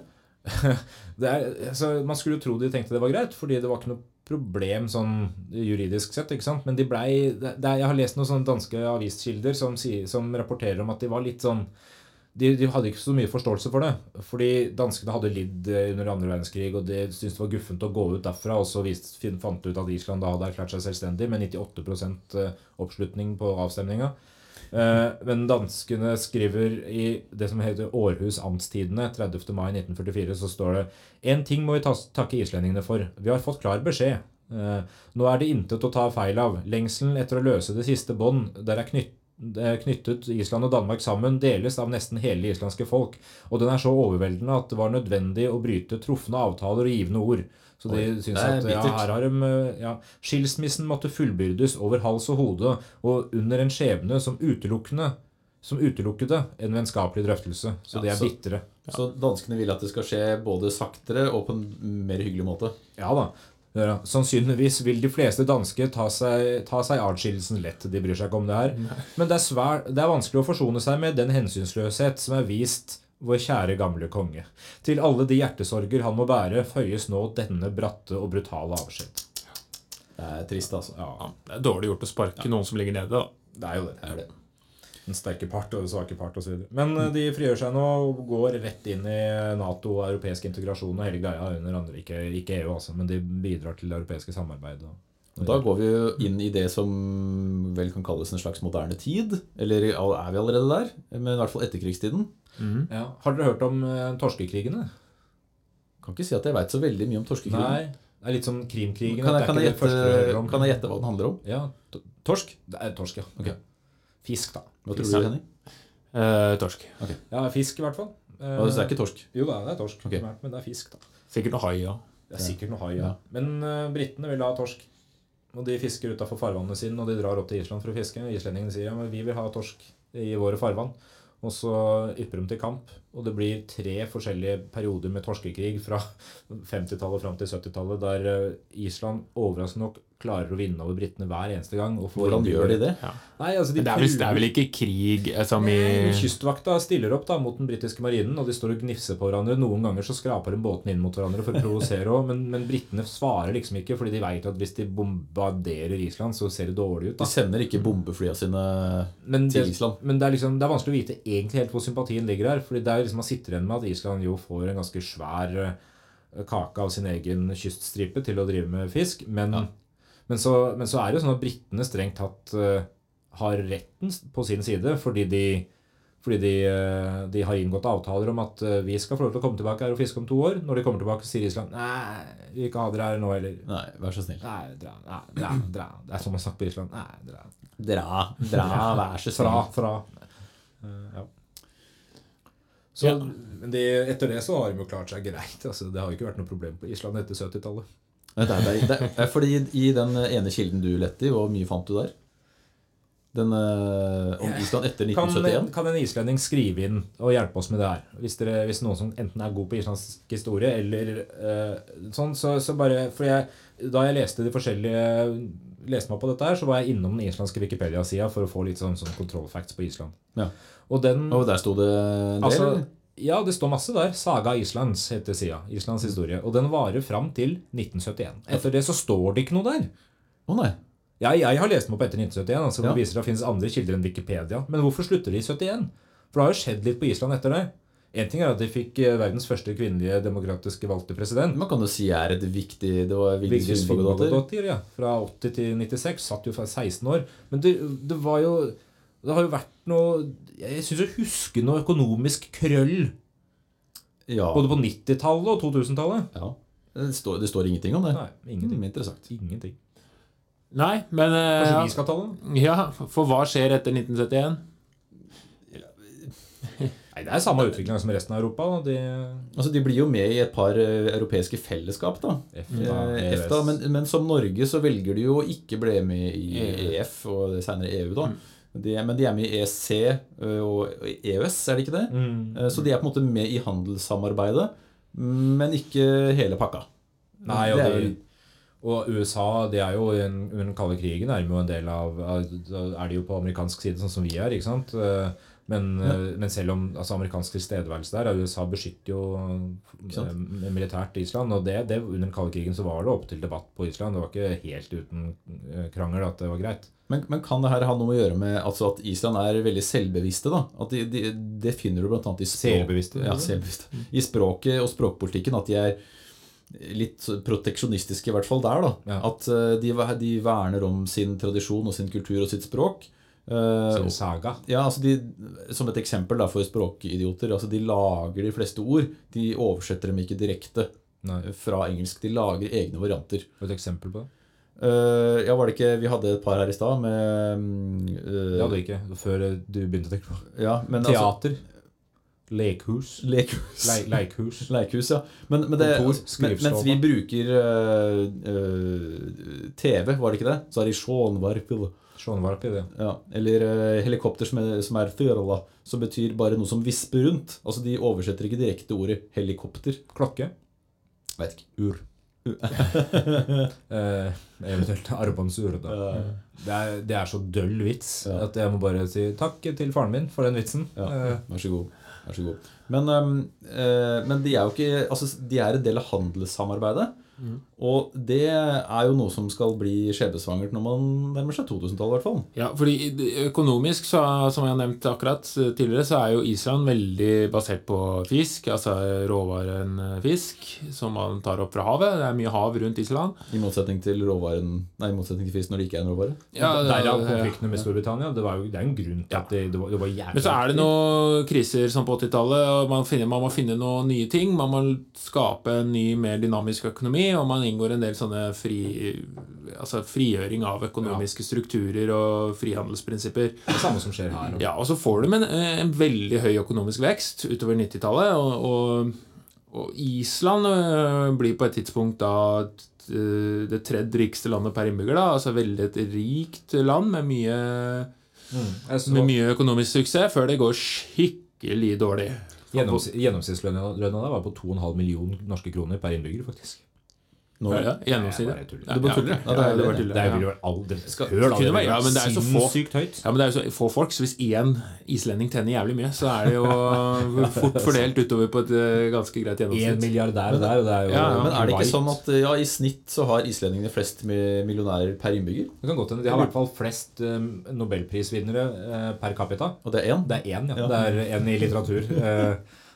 Det er, altså, man skulle jo tro de tenkte det var greit, fordi det var ikke noe problem sånn juridisk sett. ikke sant? Men de blei det, det, Jeg har lest noen sånne danske aviskilder som, sier- som rapporterer om at de var litt sånn de, de hadde ikke så mye forståelse for det. Fordi danskene hadde lidd eh, under andre verdenskrig, og de syntes det var guffent å gå ut derfra. Og så vist, fin- fant de ut at Island da hadde erklært seg selvstendig med 98 oppslutning på avstemninga. Eh, Men danskene skriver i det som heter Århus Amtstidene 30. mai 1944, så står det En ting må vi tas- takke islendingene for. Vi har fått klar beskjed. Eh, Nå er det intet å ta feil av. Lengselen etter å løse det siste bånd der er knytt eh, knyttet Island og Danmark sammen, deles av nesten hele det islandske folk. Og den er så overveldende at det var nødvendig å bryte trufne avtaler og givende ord. Så de
Oi,
syns
det er
at ja,
bittert.
her har de, eh, ja, Skilsmissen måtte fullbyrdes over hals og hode og under en skjebne som utelukkende som utelukkede en vennskapelig drøftelse. Så
Ja,
de er
så-
bitre.
Så danskene vil at det skal skje både saktere og på en mer hyggelig måte.
Ja da. Det er det. Sannsynligvis vil de fleste danske ta seg, ta seg adskillelsen lett. De bryr seg ikke om det her. Men det er, svær, det er vanskelig å forsone seg med den hensynsløshet som er vist vår kjære gamle konge. Til alle de hjertesorger han må bære, føyes nå denne bratte og brutale avskjed.
Det er trist, altså.
Ja,
Det er dårlig gjort å sparke noen som ligger nede, da.
det er jo det.
Det er det.
Den sterke part og den svake part osv. Men eh, de frigjør seg nå og går rett inn i Nato og europeisk integrasjon og hele greia under andre. Ikke, ikke EU, altså, men de bidrar til det europeiske samarbeidet. og-
Og Da går vi jo inn i det som vel kan kalles en slags moderne tid. Eller er vi allerede der? Men i hvert fall etterkrigstiden.
Ja. Har dere hørt om eh, torskekrigene?
Kan ikke si at jeg veit så veldig mye om torskekrigen.
Nei. Det er litt som krimkrigene.
Kan,
det
jeg-
er
kan,
ikke
jeg
det første du hører
gjette-
om.
kan jeg gjette hva den handler om?
Ja, to- torsk? Det er torsk, ja.
Ok.
Fisk, da.
Hva
Fisk,
tror du,
ja.
Henning?
Eh, torsk.
Ja, fisk i hvert fall. Eh,
Hva, så det er ikke torsk?
Jo da, det er torsk,
Ok.
primært, men det er fisk, da.
Sikkert noe hai, ja.
Det er sikkert noe hai, ja. Men eh, britene vil ha torsk. Og de fisker utafor farvannene sine, og de drar opp til Island for å fiske. Islendingene sier ja, men vi vil ha torsk i våre farvann. Og så ypper de til kamp, og det blir tre forskjellige perioder med torskekrig fra 50-tallet fram til 70-tallet, der eh, Island overraskende nok klarer å vinne over britene hver eneste gang. Og får
Hvordan gjør de det?
Nei, altså de
Men det er vel, det
prøver-
er vel ikke krig eh, som i
Nei, Kystvakta stiller opp da mot den britiske marinen, og de står og gnifser på hverandre. Noen ganger så skraper de båtene inn mot hverandre for å provosere òg, men, men britene svarer liksom ikke, fordi de veit at hvis de bombarderer Island, så ser det dårlig ut.
De
da
sender ikke bombeflya sine
Men, det,
til Island.
men det, er liksom, det er vanskelig å vite egentlig helt hvor sympatien ligger her. Fordi det er liksom Man sitter igjen med at Island jo får en ganske svær eh, kake av sin egen kyststripe til å drive med fisk. Men, men, så, men så er det jo sånn at britene strengt tatt eh, har retten på sin side fordi de fordi de, eh, de har inngått avtaler om at eh, vi skal få lov til å komme tilbake her og fiske om to år. Når de kommer tilbake, sier Island nei, vi vil ikke ha dere her nå heller.
Nei, vær så snill.
Nei, dra, nei, dra, dra. Det er sånn man snakker på Island. Nei, dra.
Dra, dra, vær så
Fra,
snill.
fra. Eh, ja. Så, Men de, etter det så har de jo klart seg greit. Altså, det har jo ikke vært noe problem på Island etter 70-tallet.
Nei, Det er, det er, eh, fordi I den ene kilden du lette i, hvor mye fant du der? Den eh, om Island etter
Kan,
1971?
kan en islending skrive inn og hjelpe oss med det her? Hvis, dere, hvis noen som enten er god på islandsk historie eller eh, sånn, så, så bare For jeg, da jeg leste de forskjellige Leste meg på dette her, så var jeg innom den islandske Wikipedia-sida for å få litt sånn, sånn control facts på Island.
Ja.
Og den
Og der sto det en del?
Altså,
eller?
ja, det står masse der. Saga Islands heter sida. Islands historie. Og den varer fram til 1971. Etter det så står det ikke noe der.
Å nei.
Jeg, jeg har lest den opp etter 1971. Altså,
Ja.
Det viser at det finnes andre kilder enn Wikipedia. Men hvorfor slutter de i 71? For det har jo skjedd litt på Island etter det. En ting er at de fikk eh, verdens første kvinnelige demokratiske valgte president.
Man kan jo si er et viktig Det var Vigdis
Vigdis Finnbogadottir,
Finnbogadottir.
ja. Fra 80 til 96. Satt jo fra 16 år. Men det, det var jo Det har jo vært noe Jeg syns å huske noe økonomisk krøll
Ja.
Både på 90-tallet og 2000-tallet?
ja. Det, står, det står ingenting om det.
Nei,
Mm,
ingenting.
interessant.
Ingenting.
Nei, men eh,
Kanskje vi skal ta den?
ja, For hva skjer etter 1971?
Nei, det er samme utvikling som resten av Europa. da. De,
Altså, De blir jo med i et par eh, europeiske fellesskap, da.
EFTA,
Eh,
EØS.
EFTA, men, men som Norge så velger de jo å ikke bli med i
E.
EF og senere EU, da.
Mm.
De, er- men de er med i ESC ø, og EØS, er det ikke det?
Mm.
Eh, Så de er på en måte med i handelssamarbeidet, men ikke hele pakka.
Nei, og,
det er
de, og USA de er jo i en- under den kalde krigen er de jo en del av Da er de jo på amerikansk side, sånn som vi er. ikke sant? Eh, Men, eh, men selv om altså, amerikansk tilstedeværelse der er USA beskytter jo
sant?
eh, militært Island. Og det, det, under den kalde krigen så var det opp til debatt på Island. Det var ikke helt uten eh, krangel at det var greit.
Men, men kan det her ha noe å gjøre med altså at Island er veldig selvbevisste? da? At de, de, Det finner du bl.a. i, språk,
Selvbevisste,
ja,
eller?
selvbevisste. i språket og språkpolitikken. At de er litt så proteksjonistiske, i hvert fall der. da.
Ja.
At eh, de, ver- de verner om sin tradisjon og sin kultur og sitt språk. Eh,
Så Saga.
ja, altså de, Som et eksempel da, for språkidioter. altså De lager de fleste ord. De oversetter dem ikke direkte
Nei,
fra engelsk. De lager egne varianter.
har du et eksempel på det?
Eh, ja, var det ikke Vi hadde et par her i stad med mm, eh,
Det hadde vi ikke før du begynte å tenke på
ja, men altså,
Teater.
altså-
Lekhus.
Lekhus.
Le leikhus.
Leikhus, ja. Men, men det,
Kontor,
men,
skrivstove.
mens vi bruker eh, eh, TV, var det ikke det? Så er det Sjånvarpil.
Sjånvarp i det.
Ja. Eller eh, helikopter som er, som er fjørla, som betyr bare noe som visper rundt. Altså De oversetter ikke direkte ordet helikopter.
Klokke.
Vet ikke.
Ur. Eh, eventuelt armbåndsur, da.
Eh,
Det er, det er så døll vits
Ja.
at jeg må bare si takk til faren min for den vitsen.
Ja.
Eh,
Vær så god. Vær så god. Men, ehm, eh, men de er jo ikke Altså, de er en del av handelssamarbeidet.
Mm.
Og det er jo noe som skal bli skjebnesvangert når man nærmer seg 2000-tallet, i hvert fall.
Ja, fordi økonomisk, så, som jeg har nevnt akkurat eh, tidligere, så er jo Island veldig basert på fisk. Altså råvaren eh, fisk som man tar opp fra havet. Det er mye hav rundt Island.
I motsetning til råvaren Nei, i motsetning til fisk når det ikke er en råvare.
Ja,
Derav
ja.
konfliktene med Storbritannia. Det, var jo, det er jo en grunn til at det, det, var, det var jævlig
Men så er det noen kriser som på 80-tallet, og man, finner, man må finne noen nye ting. Man må skape en ny, mer dynamisk økonomi, og man inngår en del sånne fri, altså frigjøring av økonomiske strukturer og frihandelsprinsipper.
det samme som skjer her. altså.
Ja, og så får de en, eh, en veldig høy økonomisk vekst utover 90-tallet. Og, og, og Island øh, blir på et tidspunkt da øh, det tredje rikeste landet per innbygger. da, altså Veldig et rikt land med mye,
Mm. Jeg synes
med
nå-
Mm. mye økonomisk suksess før det går skikkelig dårlig.
gjennoms, gjennomsnittslønna lønna der var på 2,5 millioner norske kroner per innbygger, faktisk.
Nå,
Ja, Gjennomsnittet.
Nei, jeg bare tuller.
Ja, ja, ok.
Du bare tuller. Ja, det er
Ja, det
det.
bare tuller,
Det er
ja.
jo aldri
Skal-
Hør da,
kunne
det
være- ja,
var
men det er jo så få.
Sinnssykt høyt.
Ja, men Det er jo så få folk, så hvis én islending tjener jævlig mye, så er det jo fort fordelt utover på et øh, ganske greit
Én
gjennomsnitt.
milliardær der, og det er jo
Ja, ja,
Men er det ikke sånn at ja, i snitt så har islendingene flest mi- millionærer per innbygger?
Det kan godt hende. De har i hvert fall flest um, nobelprisvinnere eh, per capita.
Og det er én?
Det er én, ja.
Ja.
Det er én i litteratur. Eh,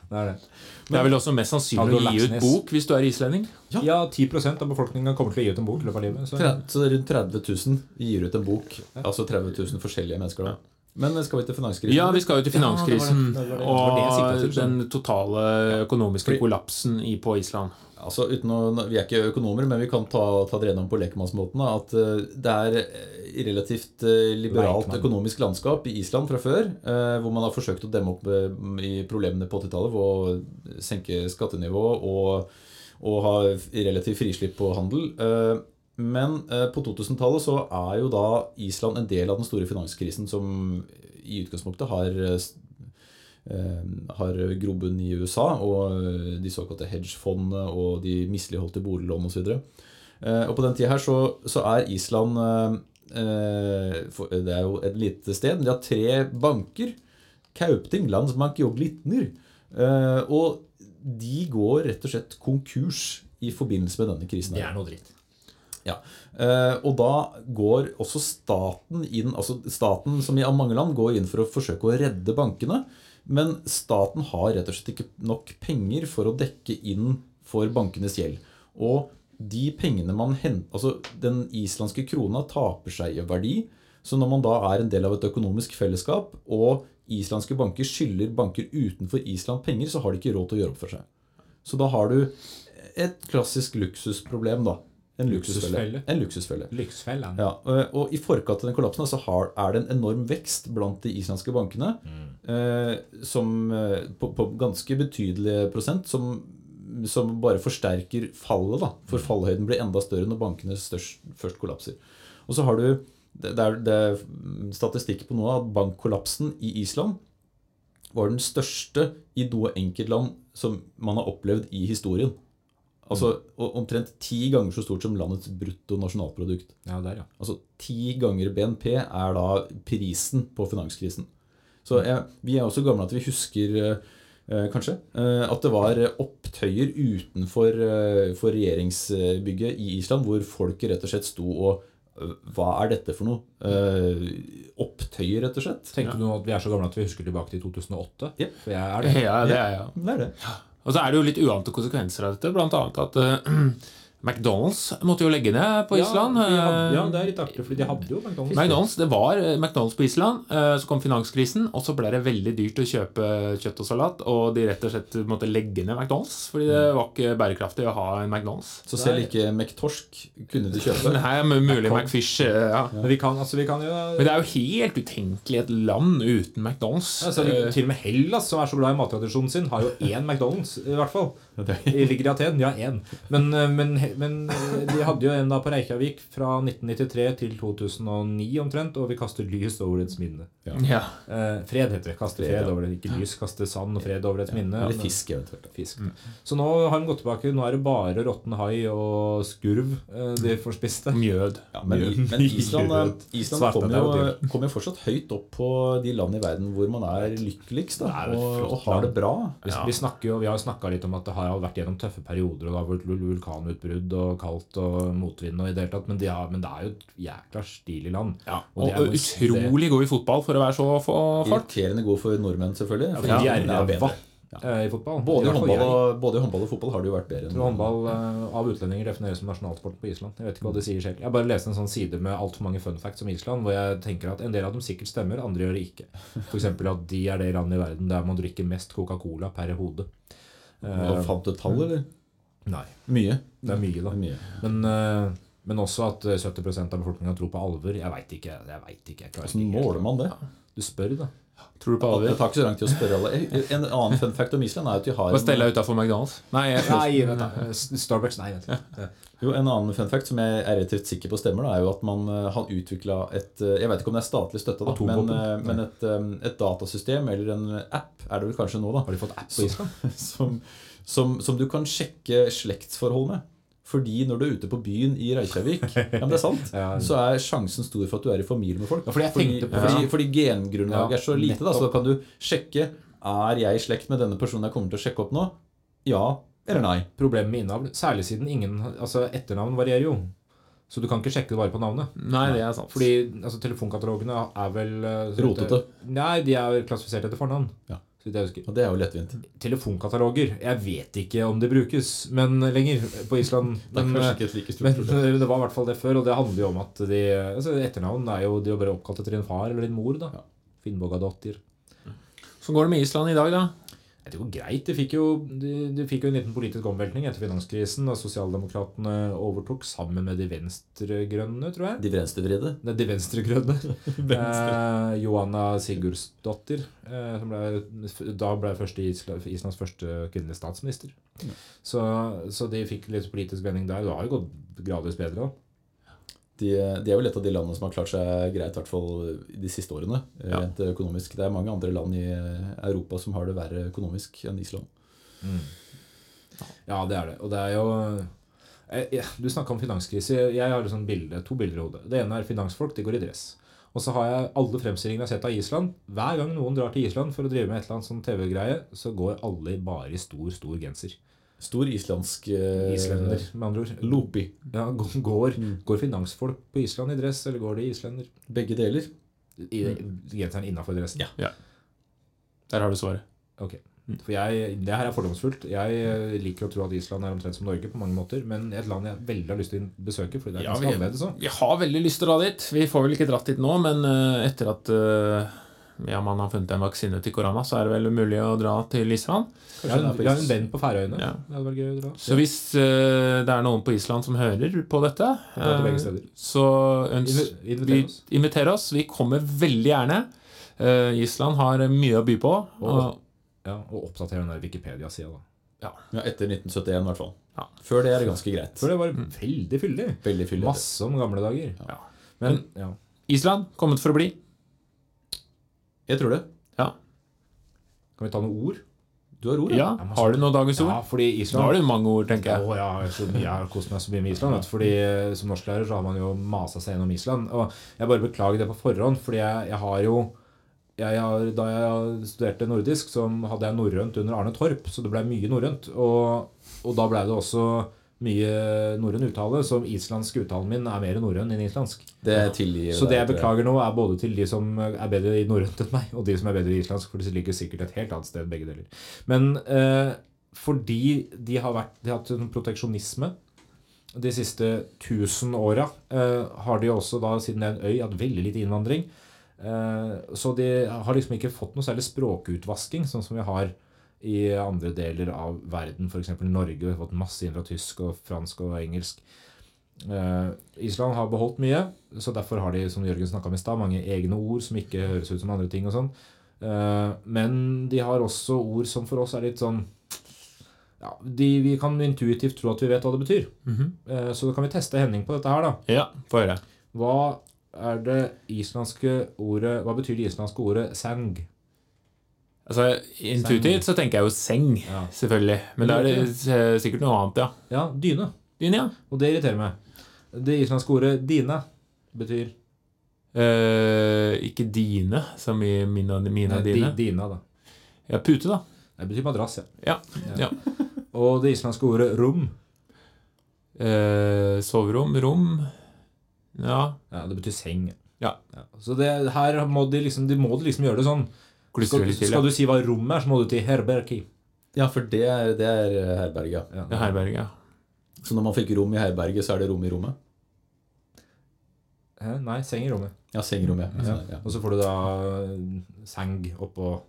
det er det.
Det er vel også mest sannsynlig å gi ut
Laksnes.
bok hvis du er islending.
Ja.
Ja, 10 av befolkningen kommer til å gi ut en bok i løpet av livet. Så.
Tre- Så det er rundt 30 000 gir ut en bok. Altså 30 000 forskjellige mennesker, da. Men skal vi til finanskrisen?
Ja, vi skal jo til finanskrisen
Ja, det var det- det var det jeg siktet til,
og den totale økonomiske kollapsen i, på Island.
Altså, uten å, vi er ikke økonomer, men vi kan ta, ta det gjennom på lekemannsmåten. da, At eh, det er eh, relativt eh, liberalt
Leikmann.
økonomisk landskap i Island fra før. eh, Hvor man har forsøkt å demme opp eh, i problemene på 80-tallet ved å senke skattenivået og, og ha relativt frislipp på handel. Eh, Men eh, på 2000-tallet så er jo da Island en del av den store finanskrisen som i utgangspunktet har eh, s- eh, har grobunn i USA, og eh, de såkalte hedgefondene og de misligholdte boliglån osv. Eh, Og på den tida her så, så er Island eh, eh, for- Det er jo et lite sted, men de har tre banker. Kaupting, Landsbank og Glitner. Eh, Og de går rett og slett konkurs i forbindelse med denne krisen. her.
Det er noe dritt.
Ja. Eh, og da går også staten inn altså Staten, som i mange land, går inn for å forsøke å redde bankene. Men staten har rett og slett ikke nok penger for å dekke inn for bankenes gjeld. Og de pengene man henter Altså, den islandske krona taper seg i verdi. Så når man da er en del av et økonomisk fellesskap, og islandske banker skylder banker utenfor Island penger, så har de ikke råd til å gjøre opp for seg. Så da har du et klassisk luksusproblem, da. En luksusfelle.
Luksusfelle.
En luksusfelle.
Lyksfellen.
Ja, og- og I forkant av den kollapsen da, så har, er det en enorm vekst blant de islandske bankene eh, som, eh, på, på ganske betydelige prosent, som, som bare forsterker fallet. da, For fallhøyden blir enda større når bankene størst, først kollapser. Og så har du, det det er, det er statistikk på noe at bankkollapsen i Island var den største i noe enkeltland som man har opplevd i historien. Altså o- Omtrent ti ganger så stort som landets brutto nasjonalprodukt.
Ja, der, ja.
Altså ti ganger BNP er da prisen på finanskrisen. Så eh, vi er også gamle at vi husker eh, eh, kanskje eh, at det var eh, opptøyer utenfor eh, for regjeringsbygget i Island hvor folk rett og slett sto og eh, Hva er dette for noe? Eh, Opptøyer, rett og slett?
Tenkte du nå at vi er så gamle at vi husker tilbake til 2008?
Jep.
For jeg er det.
Ja, det er ja.
Det er det.
Og så er det jo litt uante konsekvenser av dette, bl.a. at eh, McDonald's måtte jo legge ned på Island.
Ja, de hadde, ja,
Eh,
det er litt artig, for de hadde jo McDonald's.
McDonald's, det var eh, McDonald's på Island. eh, Så kom finanskrisen, og så ble det veldig dyrt å kjøpe kjøtt og salat. Og de rett og slett måtte legge ned McDonald's, fordi
Mm.
det var ikke bærekraftig å ha en McDonald's.
Så selv ikke McTorsk kunne de kjøpe.
Men her er mulig McFish. eh, Ja.
Men vi kan, altså, vi kan jo
Men det er jo helt utenkelig et land uten McDonald's.
altså,
Eh,
Til og med Hellas, som er så glad i mattradisjonen sin, har jo én McDonald's, i hvert fall. De ligger i Aten. De har én. Men, eh, men, men eh, de hadde jo en da på Reykjavik fra 1993 til 2009 omtrent, og vi kaster lys over dets minne.
Ja.
Eh, fred heter det. Kaste fred over det. Ikke lys, kaste sand og fred over dets minne.
Eller
Men-
fisk, eventuelt.
Fisk. Så nå har de gått tilbake. Nå er det bare råtten hai og skurv eh, de får spist. det.
Mjød.
Ja, men, men Island, eh, Island
Svarte
kommer
der
jo,
og
kommer jo fortsatt høyt opp på de land i verden hvor man er lykkeligst da,
Det er et
og,
flott
og har det bra.
Vi, vi, snakker jo, vi har snakka litt om at det har vært gjennom tøffe perioder. Og det har vært vul- vulkanutbrudd og kaldt og motvind og i det hele tatt. Men, de har, men det er jo et jækla stilig land.
Og,
de er jo-
utrolig god i fotball for å være så få folk.
Irriterende god for nordmenn, selvfølgelig.
det-
fordi
De
nordmenn er
er
bedre.
ræva eh, i fotball. I
Både i,
hvert fall
håndball
jeg.
og, både i håndball og fotball har det jo vært bedre
Jeg tror
enn
Håndball eh, av utlendinger defineres som nasjonalsport på Island. Jeg vet ikke hva de sier selv. Jeg har bare leste en sånn side med altfor mange fun facts om Island, hvor jeg tenker at en del av dem sikkert stemmer, andre gjør det ikke. F.eks. at de er det landet i verden der man drikker mest Coca-Cola per hode.
Hva Fant du et tall, eller?
Nei.
Mye.
Det er mye, da.
Mye.
Men, eh, men også at eh, 70 av befolkninga tror på alver. Jeg veit ikke. Jeg vet ikke. Jeg klarer
Hvordan
ikke.
måler man det?
Du spør, da.
Tror du på
Det
alvor?
tar ikke så lang tid å spørre alle. En annen fun fact om Island er at de har
Bare
en,
stelle deg utafor McDonald's? Nei, jeg
Nei, vent da. Eh, Starbucks, nei, vent. da.
jo, en annen fun fact som jeg er relativt sikker på stemmer, da, er jo at man eh, har utvikla et eh, Jeg vet ikke om det er statlig støtte, da, men, eh, men et, eh, et datasystem eller en app er det vel kanskje nå, da.
Har de fått app på Island?
som, som, som du kan sjekke slektsforhold med. Fordi når du er ute på byen i Reykjavik, ja, men det er sant,
Ja.
så er sjansen stor for at du er i familie med folk.
Ja, fordi jeg tenkte på-
fordi, fordi gengrunnlaget
Ja,
er så lite, da, så da kan du sjekke er jeg i slekt med denne personen jeg kommer til å sjekke opp nå. Ja eller nei.
problemet med innavl, særlig siden ingen Altså, etternavn varierer jo. Så du kan ikke sjekke det bare på navnet.
Nei, det er sant.
Fordi altså, telefonkatalogene er vel eh, så
Rotete.
vidt jeg- Nei, de er jo klassifisert etter fornavn.
Ja.
Så vidt jeg husker.
Og det er jo lettvint.
Telefonkataloger Jeg vet ikke om de brukes men lenger på Island.
Det er
Men,
kanskje
eh,
ikke et like stort
men
problem.
det var i hvert fall det før, og det handler jo om at de altså, Etternavn er jo de er bare oppkalt etter din far eller din mor. da
Ja.
Finnbogadottir.
Så går det med Island i dag, da?
Det går greit. De fikk, jo, de, de fikk jo en liten politisk omveltning etter finanskrisen, da sosialdemokratene overtok sammen med de venstregrønne, tror jeg.
De venstrevridde.
Nei, de venstregrønne. Eh, Johanna Sigurdsdottir. Eh, som ble, da ble første Isla, Islands første kvinnelige statsminister. Så, så de fikk litt politisk vending der. Det har jo gått gradvis bedre. da.
De, de er vel et av de landene som har klart seg greit, i hvert fall de siste årene, rent økonomisk. Det er mange andre land i Europa som har det verre økonomisk enn Island.
Ja, det er det. Og det er jo Eh, ja, Du snakka om finanskrise. Jeg har et sånt bilde, to bilder i hodet. Det ene er finansfolk. De går i dress. Og så har jeg alle fremstillingene jeg har sett av Island. Hver gang noen drar til Island for å drive med et eller annet sånn TV-greie, så går alle bare i stor, stor genser.
Stor islandsk eh,
Islender, med andre ord.
Lopi.
Ja, g- går, går finansfolk på Island i dress, eller går de i islender?
Begge deler.
I, genseren innafor dressen?
Ja.
Der har du svaret.
Ok. For jeg, Det her er fordomsfullt. Jeg eh, liker å tro at Island er omtrent som Norge på mange måter, men et land jeg veldig har lyst til å besøke. fordi det er
Ja,
ganske
vi-
annerledes også.
Jeg har veldig lyst til å dra dit. Vi får vel ikke dratt dit nå, men eh, etter at eh, ja, man har funnet en vaksine til korona, så er det vel mulig å dra til Island.
Jeg har
det er
en-
på
jeg har
is.
en venn på Færøyene.
Ja.
Det hadde vært gøy å dra.
Så hvis eh, det er noen på Island som hører på dette, eh,
Dra til begge steder.
så øns
Invi- inviter
vi
oss.
inviter oss. Vi kommer veldig gjerne. Eh, Island har mye å by på.
Og- Ja, Og oppdatere den der Wikipedia-sida, da.
Ja, etter 1971 i hvert fall.
Ja.
Før det er det ganske greit.
For det var veldig fyldig.
Veldig fyldig.
Masse om gamle dager.
Mm. Ja.
Men ja.
Og Island kommet for å bli.
Jeg tror det.
Ja.
Kan vi ta noen ord?
Du har ordet.
ja. Har du noen dagens
Ja,
ord?
fordi
Nå
Island
har du mange ord, tenker jeg.
Å ja, jeg tror- jeg har kost meg så mye med Island. Vet. du, Fordi eh, Som norsklærer så har man jo masa seg gjennom Island. Og jeg bare beklager det på forhånd, fordi jeg, jeg har jo jeg, har- Da jeg studerte nordisk, så hadde jeg norrønt under Arne Torp, så det ble mye norrønt. Og, og da ble det også mye norrøn uttale, så islandsk uttalen min er mer norrøn enn islandsk.
Det eh, tilgir
Så det jeg
deg, tror
beklager nå, er både til de som er bedre i norrønt enn meg, og de som er bedre i islandsk, for de ligger sikkert et helt annet sted, begge deler. Men eh, fordi de har, vært, de har hatt en proteksjonisme de siste 1000 åra eh, har de også, da, siden det er en øy, hatt veldig lite innvandring. Eh, så de har liksom ikke fått noe særlig språkutvasking, sånn som vi har i andre deler av verden. F.eks. Norge vi har fått masse inn fra tysk og fransk og engelsk. Eh, Island har beholdt mye, så derfor har de som Jørgen snakket om i stad, mange egne ord som ikke høres ut som andre ting. og sånn. Eh, men de har også ord som for oss er litt sånn ja, de, Vi kan intuitivt tro at vi vet hva det betyr. Eh, så da kan vi teste Henning på dette her, da.
Ja, få høre.
Hva er det islandske ordet Hva betyr det islandske ordet 'sang'?
Altså, Intuitivt så tenker jeg jo seng,
Ja.
selvfølgelig. Men da er det eh, sikkert noe annet, ja.
Ja, dyne.
Din, ja.
Og det irriterer meg. Det islandske ordet 'dine' betyr
Eh, ikke dine, som i min og, mine
Nei,
og
eh, di-
dine.
Dina, da.
Ja, pute, da.
Det betyr madrass, ja.
Ja. ja.
Og det islandske ordet 'rom'
Eh, soverom, rom Ja.
Ja, det betyr seng.
Ja.
Så det, her må de, liksom, de må de liksom gjøre det sånn.
Klustre
Skal,
litt til.
skal
Ja.
du si hva rom er, så må du til herbergi.
Ja, for det er, det er eh, herberget. ja.
Ja.
Det er herberget, ja.
Så når man fikk rom i herberget, så er det rom i rommet?
Hæ? Nei, seng i rommet.
Ja, sengerommet. Ja. Ja.
Og så får du da eh, seng oppå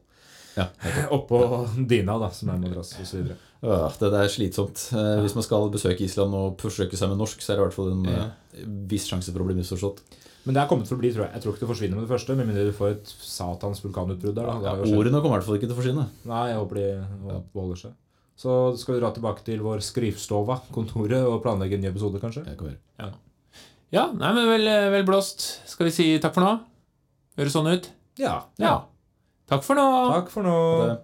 Ja.
Oppå dina, da, som er madrass osv.
Øh, det der er slitsomt. Eh, Hvis man skal besøke Island og forsøke seg med norsk, så er det i hvert fall en
Ja.
eh, viss sjanse for å bli misforstått.
Men det er kommet for å bli, tror jeg. Jeg tror ikke det forsvinner med det første, med mindre du får et satans vulkanutbrudd der. Da. Det
Ja,
har jo skjedd.
ordene kommer i hvert fall ikke til å forsvinne.
Nei, jeg håper de beholder seg. Så skal vi dra tilbake til vår skrivstova, kontoret, og planlegge en ny episode, kanskje?
Jeg kommer.
Ja, nei, men vel, vel blåst. Skal vi si takk for nå? Høres sånn ut?
Ja.
Ja. Takk for nå.
Takk for nå.
Det-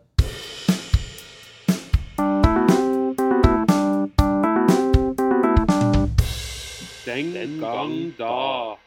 Den gang da.